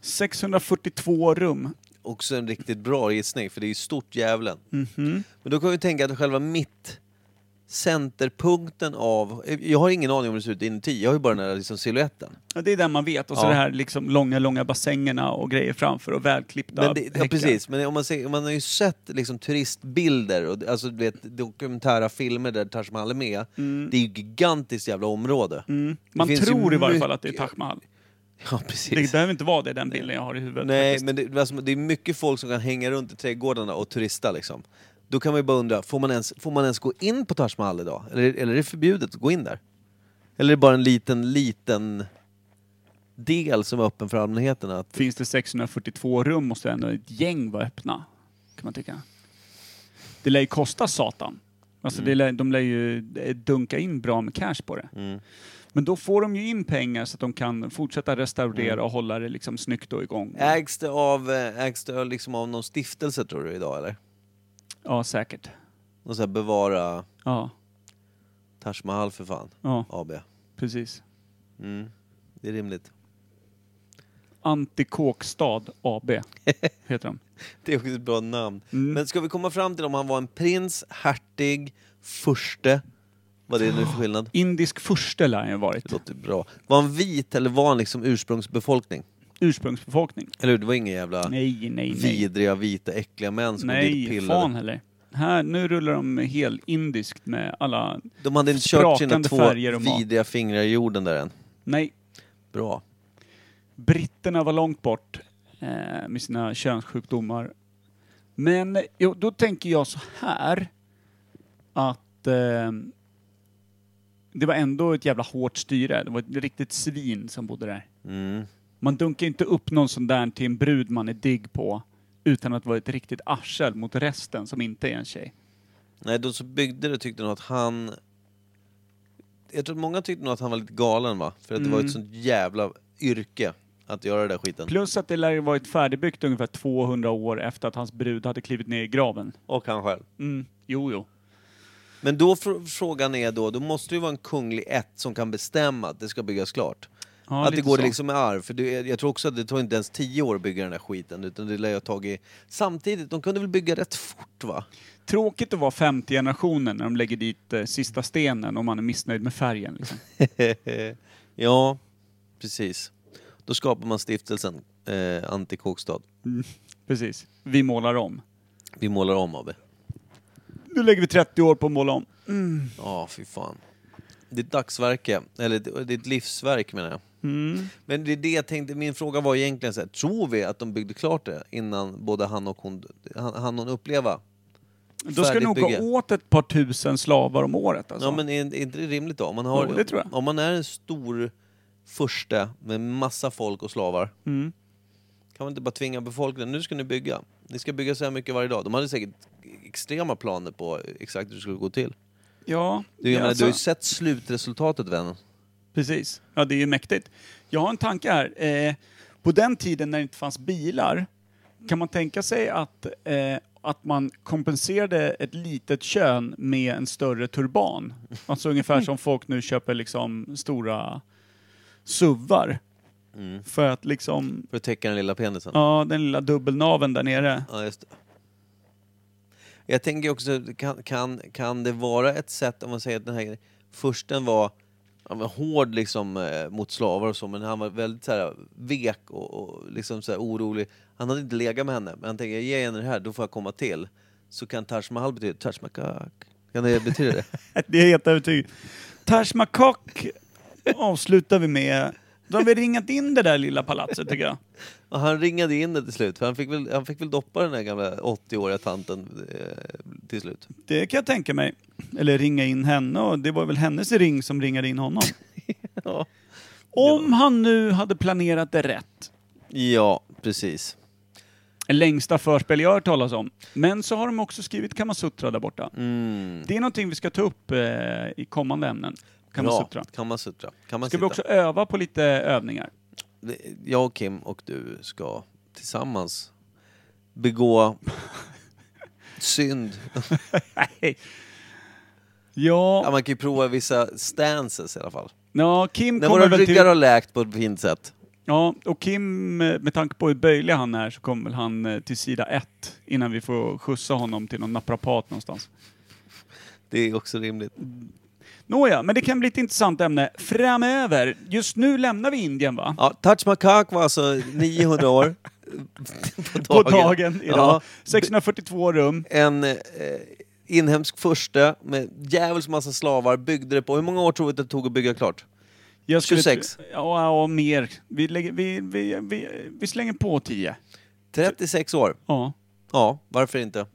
B: 642 rum.
A: Också en riktigt bra gissning för det är ju stort djävulen.
B: Mhm.
A: Men då kan vi tänka att själva mitt centerpunkten av... Jag har ingen aning om hur det ser ut inuti. Jag har ju bara den här liksom siluetten.
B: Ja, det är där man vet. Och så
A: Ja.
B: det här liksom långa, långa bassängerna och grejer framför och välklippta
A: Men det, ja,
B: häckar.
A: precis. Men om man, ser, man har ju sett liksom turistbilder och alltså, du vet, dokumentära filmer där Taj Mahal är med. Det är ju ett gigantiskt jävla område.
B: Mm. Man
A: finns ju
B: tror i varje fall att det är Taj
A: mycket-
B: Mahal.
A: Ja,
B: Det
A: precis.
B: behöver inte vara det, den bilden jag har i huvudet.
A: Nej,
B: faktiskt.
A: men det, alltså, det är mycket folk som kan hänga runt i trädgårdarna och turista liksom. Då kan man ju bara undra, får man ens, får man ens gå in på Taj Mahal idag? Eller, eller är det förbjudet att gå in där? Eller är det bara en liten, liten del som är öppen för allmänheten? Att,
B: Finns det 642 rum måste ändå ett gäng vara öppna. Kan man tycka. Det lär ju kosta satan. Alltså
A: Mm.
B: det lär, de lär ju eh, dunka in bra med cash på det.
A: Mm.
B: Men då får de ju in pengar så att de kan fortsätta restaurera
A: Mm.
B: och hålla det liksom snyggt och igång.
A: ägs det, av, eh, ägs det liksom av någon stiftelse tror du idag eller?
B: Ja, säkert.
A: Någon så här bevara
B: Ja,
A: Taj Mahal för fan,
B: ja
A: AB.
B: precis.
A: Mm. Det är rimligt.
B: Antikåkstad AB heter de.
A: Det är också ett bra namn.
B: Mm.
A: Men ska vi komma fram till om han var en prins, hertig, furste? Vad det är nu för skillnad?
B: Indisk furste lär han ju ha
A: Det
B: varit.
A: låter bra. Var han vit eller var han liksom ursprungsbefolkning?
B: Ursprungsbefolkning.
A: Eller hur? Det var inga jävla
B: Nej, nej, nej.
A: vidriga, vita, äckliga män som kom dit och
B: Nej,
A: pillade.
B: fan heller. Här, nu rullar de helt indiskt med alla...
A: De hade inte kört sina
B: Sprakande
A: två
B: färger och mat.
A: vidriga fingrar i jorden där än.
B: Nej,
A: Bra.
B: britterna var långt bort eh, med sina könssjukdomar. Men jo, då tänker jag så här att eh, det var ändå ett jävla hårt styre. Det var ett riktigt svin som bodde där.
A: Mm.
B: Man dunkar inte upp någon sån där till en brud man är digg på utan att vara ett riktigt arsel mot resten som inte är en tjej.
A: Nej, då så byggde det tyckte nog att han... Jag tror att många tyckte nog att han var lite galen va? För att det var
B: Mm.
A: ett sånt jävla yrke att göra den där skiten.
B: Plus att det lär ju varit färdigbyggt ungefär 200 år efter att hans brud hade klivit ner i graven.
A: Och han själv.
B: Mm. Jo, jo.
A: Men då fr- frågan är då, då måste det ju vara en kunglig ett som kan bestämma att det ska byggas klart.
B: Ja,
A: att det
B: lite
A: går
B: så.
A: liksom i arv. För det, är- jag tror också att det tog inte ens tio år att bygga den här skiten. Utan det lär jag ha tagit... Samtidigt, de kunde väl bygga rätt fort va?
B: Tråkigt att vara femte generationen när de lägger dit eh, sista stenen om man är missnöjd med färgen. Liksom.
A: ja, precis. Då skapar man stiftelsen eh, Antikåkstad.
B: Precis. Vi målar om.
A: Vi målar om AB.
B: Nu lägger vi 30 år på att måla om.
A: Ja, fy fan. Ditt dagsverke, eller d- ditt livsverk menar jag.
B: Mm.
A: Men det är det jag tänkte, min fråga var egentligen så här, tror vi att de byggde klart det innan både han och hon, han, han hon uppleva?
B: Då ska det
A: Färdigt
B: nog
A: bygge.
B: gå åt ett par tusen slavar om året. Alltså.
A: Ja men är, är inte det rimligt då? Om man, har,
B: Jo, det tror jag.
A: om man är en stor furste med massa folk och slavar,
B: Mm.
A: kan man inte bara tvinga befolkningen, nu ska ni bygga. Ni ska bygga så här mycket varje dag. De hade säkert extrema planer på exakt hur det skulle gå till.
B: ja,
A: Du, jag menar, du
B: alltså,
A: har ju sett slutresultatet vännen.
B: Precis. Ja, det är ju mäktigt. Jag har en tanke här. Eh, på den tiden när det inte fanns bilar, kan man tänka sig att, eh, att man kompenserade ett litet kön med en större turban? Alltså ungefär som folk nu köper liksom stora suvar. För att liksom,
A: För att täcka den lilla penisen.
B: ja den lilla dubbelnaven där nere.
A: Ja, just det. Jag tänker också, kan, kan, kan det vara ett sätt om man säger att den här fursten var ja, men hård liksom, eh, mot slavar och så, men han var väldigt så här, vek och, och liksom, så här, orolig. Han hade inte legat med henne, men han tänkte ge henne det här, då får jag komma till. Så kan Taj Mahal betyda Taj Mahal. Kan det betyda det?
B: Det är helt övertygad. Taj Makak avslutar vi med. Då har vi ringat in det där lilla palatset tycker jag.
A: Och han ringade in det till slut, för han fick väl, han fick väl doppa den där gamla 80-åriga tanten eh, till slut.
B: Det kan jag tänka mig. Eller ringa in henne och det var väl hennes ring som ringade in honom.
A: Ja,
B: Om han nu hade planerat det rätt.
A: ja precis.
B: Längsta förspel jag har hört talas om. Men så har de också skrivit Kamasutra där borta.
A: Mm.
B: Det är någonting vi ska ta upp eh, i kommande ämnen. Kamasutra.
A: Ja, Kamasutra.
B: Ska
A: Kamasutra.
B: vi också öva på lite övningar?
A: Jag och Kim och du ska tillsammans begå synd.
B: Nej.
A: Ja,
B: Ja,
A: man kan ju prova vissa stances i alla fall.
B: ja Kim
A: När
B: kommer
A: våra
B: väl
A: ryggar
B: till...
A: har läkt på ett fint sätt.
B: Ja, och Kim, eh, med tanke på hur böjlig han är, så kommer väl han eh, till sida ett innan vi får skjutsa honom till någon naprapat någonstans.
A: Det är också rimligt.
B: Nåja, men det kan bli ett intressant ämne framöver. Just nu lämnar vi Indien va?
A: Ja, Taj Makak var alltså 900 år.
B: På dagen idag.
A: Ja.
B: 642 rum.
A: En eh, inhemsk furste med djävulsk massa slavar byggde det på... Hur många år tror du att det tog att bygga klart?
B: Jag skulle-
A: 26.
B: Ja, ja, mer. Vi, lägger, vi, vi, vi, vi slänger på 10.
A: 36 år.
B: Ja.
A: Ja, varför inte?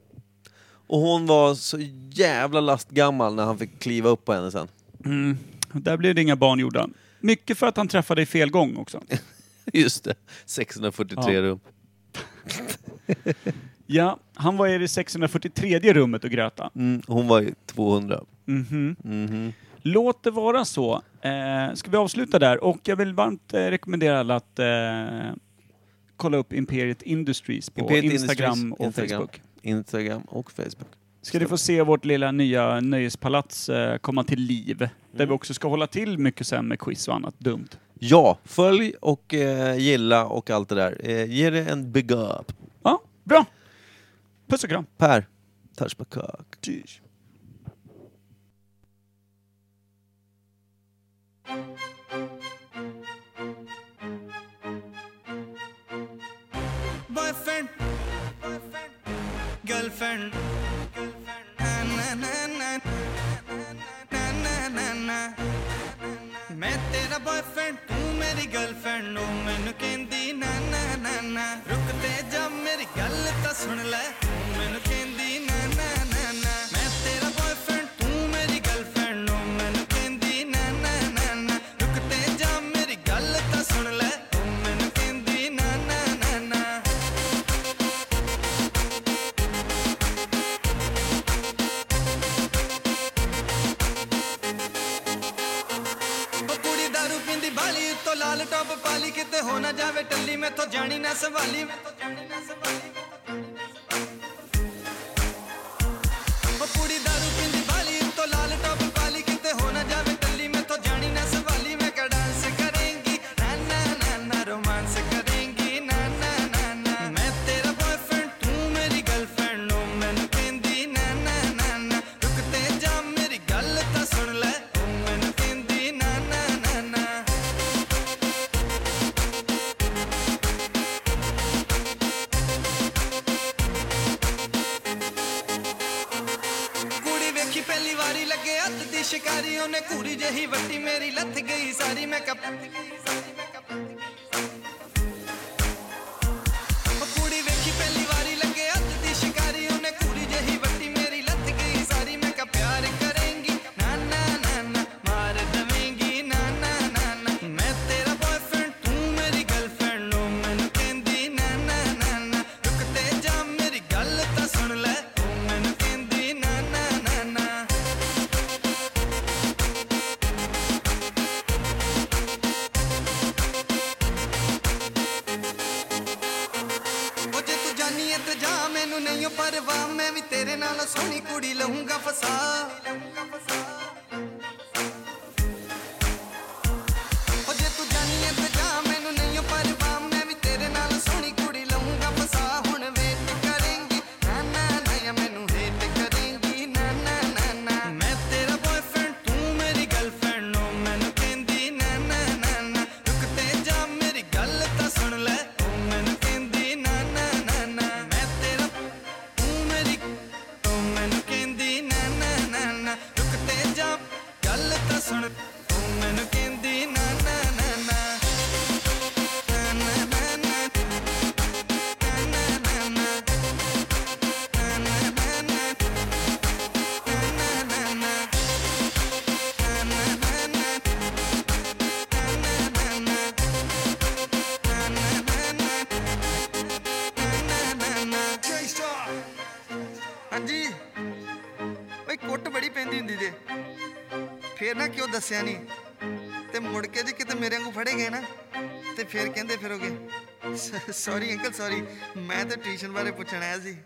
A: Och hon var så jävla lastgammal när han fick kliva upp på henne sen.
B: Mm. Där blev det inga barn gjorda. Mycket för att han träffade i fel gång också.
A: Just det, 643
B: Ja.
A: rum.
B: Ja, han var i det 643 rummet och gröta.
A: Mm, hon var ju 200.
B: Mhm.
A: Mhm.
B: Låt det vara så. Eh, ska vi avsluta där? Och jag vill varmt eh, rekommendera alla att eh, kolla upp Imperiet Industries på
A: Imperiet
B: Instagram
A: Industries,
B: och
A: Instagram.
B: Facebook.
A: Instagram och Facebook.
B: Ska ni få se vårt lilla nya nöjespalats eh, komma till liv. Där vi också ska hålla till mycket sen med quiz och annat dumt.
A: Ja, följ och eh, gilla och allt det där. Eh, ge det en big up.
B: Ja, bra! Puss och kram!
A: Per, touch my cock.
F: boyfriend, boyfriend, girlfriend, girlfriend, na na na na na na na ਮੈਂ ਤੇਰਾ boyfriend ਤੂੰ ਮੇਰੀ girlfriend ਨੂੰ ਮੈਨੂੰ ਕਹਿੰਦੀ ਨਾ ਨਾ ਨਾ ਨਾ ਰੁਕ ਤੇ ਜਾ ਮੇਰੀ ਗੱਲ ਤਾਂ ਸੁਣ ਲੈ ਤੂੰ ਮੈਨੂੰ ਕਹਿੰਦੀ ਨਾ ਨਾ ਨਾ ਨਾ ਮੈਂ ਤੇਰਾ boyfriend ਤੂੰ ਮੇਰੀ girlfriend ਨੂੰ ਮੈਨੂੰ ਕਹਿੰਦੀ ਨਾ ਨਾ ਨਾ ਨਾ ਰੁਕ ਤੇ ਜਾ ਮੇਰੀ ਗੱਲ ਤਾਂ ਸੁਣ ਲੈ ਤੂੰ ਮੈਨੂੰ ਕਹਿੰਦੀ ਨਾ ਨਾ ਨਾ ਨਾ ਉਹ ਕੁੜੀ ਦਾਰੂ ਪਿੰਦੀ ਬਾਲੀ ਉੱਤੋਂ ਲਾਲ ਟੋਪ ਪਾਲੀ ਕਿਤੇ ਹੋ ਨਾ ਜਾਵੇ ਟੱਲੀ ਮੈਥੋਂ ਜਾਣੀ ਨਾ ਸੰਭਾਲੀ ਮੈਥੋਂ ਜਾਣੀ ਨਾ ਸੰਭਾਲੀ ਉਹ ਕੁੜੀ ਦਾਰੂ ਪਿੰਦੀ ਬਾਲੀ ਉੱਤੋਂ ਲਾਲ ਟੋਪ ਪਾਲੀ ਕਿਤੇ ਹੋ ਨਾ ਜਾਵੇ ਟੱਲੀ ਮੈਥੋਂ ਜਾਣੀ ਨਾ ਸੰਭਾਲੀ ਮੈਂ ਕਿਹੜਾ ਡਾਂਸ ਕਰੇਂਗੀ ਨਾ ਨਾ ਨਾ ਨਾ ਰੋਮਾਂਸ ਕਰੇਂਗੀ ਨਾ ਨਾ ਨਾ ਨਾ ਮੈਂ ਤੇਰਾ ਬॉयਫ੍ਰੈਂਡ ਤੂੰ ਮੇਰੀ ਗਰਲਫ੍ਰੈਂਡ ਨੂੰ ਮੈਨੂੰ ਕਹਿੰਦੀ ਨਾ ਨਾ ਨਾ ਨਾ ਰੁਕ ਤੇ ਜਾ ਮੇਰੀ ਗੱਲ ਤਾਂ ਸੁਣ ਲੈ ਤੂੰ ਮੈਨੂੰ ਕਹਿੰਦੀ ਨਾ ਨਾ ਨਾ ਨਾ ਕੁੜੀ ਵੇਖੀ ਪਹਿਲੀ ਵਾਰੀ ਲੱਗੇ ਹੱਥ ਦੀ ਸ਼ਿਕਾਰੀ ਉਹਨੇ ਕੁੜੀ ਜਹੀ ਵੱਟੀ ਮੇਰੀ ਲੱਥ ਗਈ ਸਾਰੀ ਮੈਂ ਕਪ ਉਹ ਕੁੜੀ ਵੇਖੀ ਪਹਿਲੀ ਵਾਰੀ ਲੱਗੇ ਹੱਥ ਦੀ ਸ਼ਿਕਾਰੀ ਉਹਨੇ ਕੁੜੀ ਜਹੀ ਵੱਟੀ ਮੇਰੀ ਲੱਥ ਗਈ ਸਾਰੀ ਮੈਂ ਕਾ ਪਿਆਰ ਕਰੇਂਗੀ ਨਾ ਨਾ ਨਾ ਨਾ ਮਾਰ ਦਵੇਂਗੀ ਨਾ ਨਾ ਨਾ ਨਾ ਮੈਂ ਤੇਰਾ ਬॉयਫ੍ਰੈਂਡ ਤੂੰ ਮੇਰੀ ਗਰਲਫ੍ਰੈਂਡ ਨੂੰ ਮੈਨੂੰ ਕਹਿੰਦੀ ਨਾ ਨਾ ਨਾ ਨਾ ਰੁਕ ਤੇ ਜਾ ਮੇਰੀ ਗੱਲ ਤਾਂ ਸੁਣ ਲੈ ਤੂੰ ਮੈਨੂੰ ਕਹਿੰਦੀ ਨਾ ਨਾ ਨਾ ਨਾ ਉਹ ਜੇ ਤੂੰ ਜਾਨੀ ਐ ਤੇ ਜਾ ਮੈਨੂੰ ਨਹੀਂ ਓ ਪਰਵਾਹ ਮੈਂ ਵੀ ਤੇਰੇ ਨਾਲ ਸੋਹਣੀ ਕੁੜੀ ਲਹੂੰਗਾ ਫਸਾ ਉਹ ਜੇ ਤੂੰ ਜਾਨੀ ਐ ਤੇ ਜਾ ਮੈਨੂੰ ਨਹੀਂ ਓ ਪਰਵਾਹ ਮੈਂ ਵੀ ਤੇਰੇ ਨਾਲ ਸੋਹਣੀ ਕੁੜੀ ਲਹੂੰਗਾ ਫਸਾ ਹੁਣ ਵੇਟ ਕਰੇਂਗੀ ਨਾ ਨਾ ਨਾ ਯਾ ਮੈਨੂੰ ਹੇਟ ਕਰੇਂਗੀ ਨਾ ਨਾ ਨਾ ਨਾ ਮੈਂ ਤੇਰਾ ਬॉयਫ੍ਰੈਂਡ ਤੂੰ ਮੇਰੀ ਗਰਲਫ੍ਰੈਂਡ ਨੂੰ ਮੈਨੂੰ ਕਹਿ-
G: ਸੁਣ ਤੂੰ ਮੈਨੂੰ ਕਹਿੰਦੀ ਨਾ ਨਾ ਨਾ ਨਾ ਨਾ, ਨਾ, ਨਾ, ਨਾ। ਨਾ, ਨਾ, ਨਾ, ਨਾ।
F: ਗੈਂਗਸਟਰ ਹਾਂਜੀ ਓਏ ਕੁੱਟ ਬੜੀ ਪੈਂਦੀ ਹੁੰਦੀ ਜੇ ਫੇਰ ਨਾ ਕਿਉਂ ਦੱਸਿਆ ਨਹੀਂ ਤੇ ਮੁੜ ਕੇ ਜੇ ਕਿਤੇ ਮੇਰੇ ਵਾਂਗੂ ਫੜੇ ਗਏ ਨਾ ਤੇ ਫੇਰ ਕਹਿੰਦੇ ਫਿਰੋਗੇ ਸੌਰੀ ਅੰਕਲ ਸੌਰੀ ਮੈਂ ਤਾਂ ਟਿਊਸ਼ਨ ਬਾਰੇ ਪੁੱਛਣ ਆਇਆ ਸੀ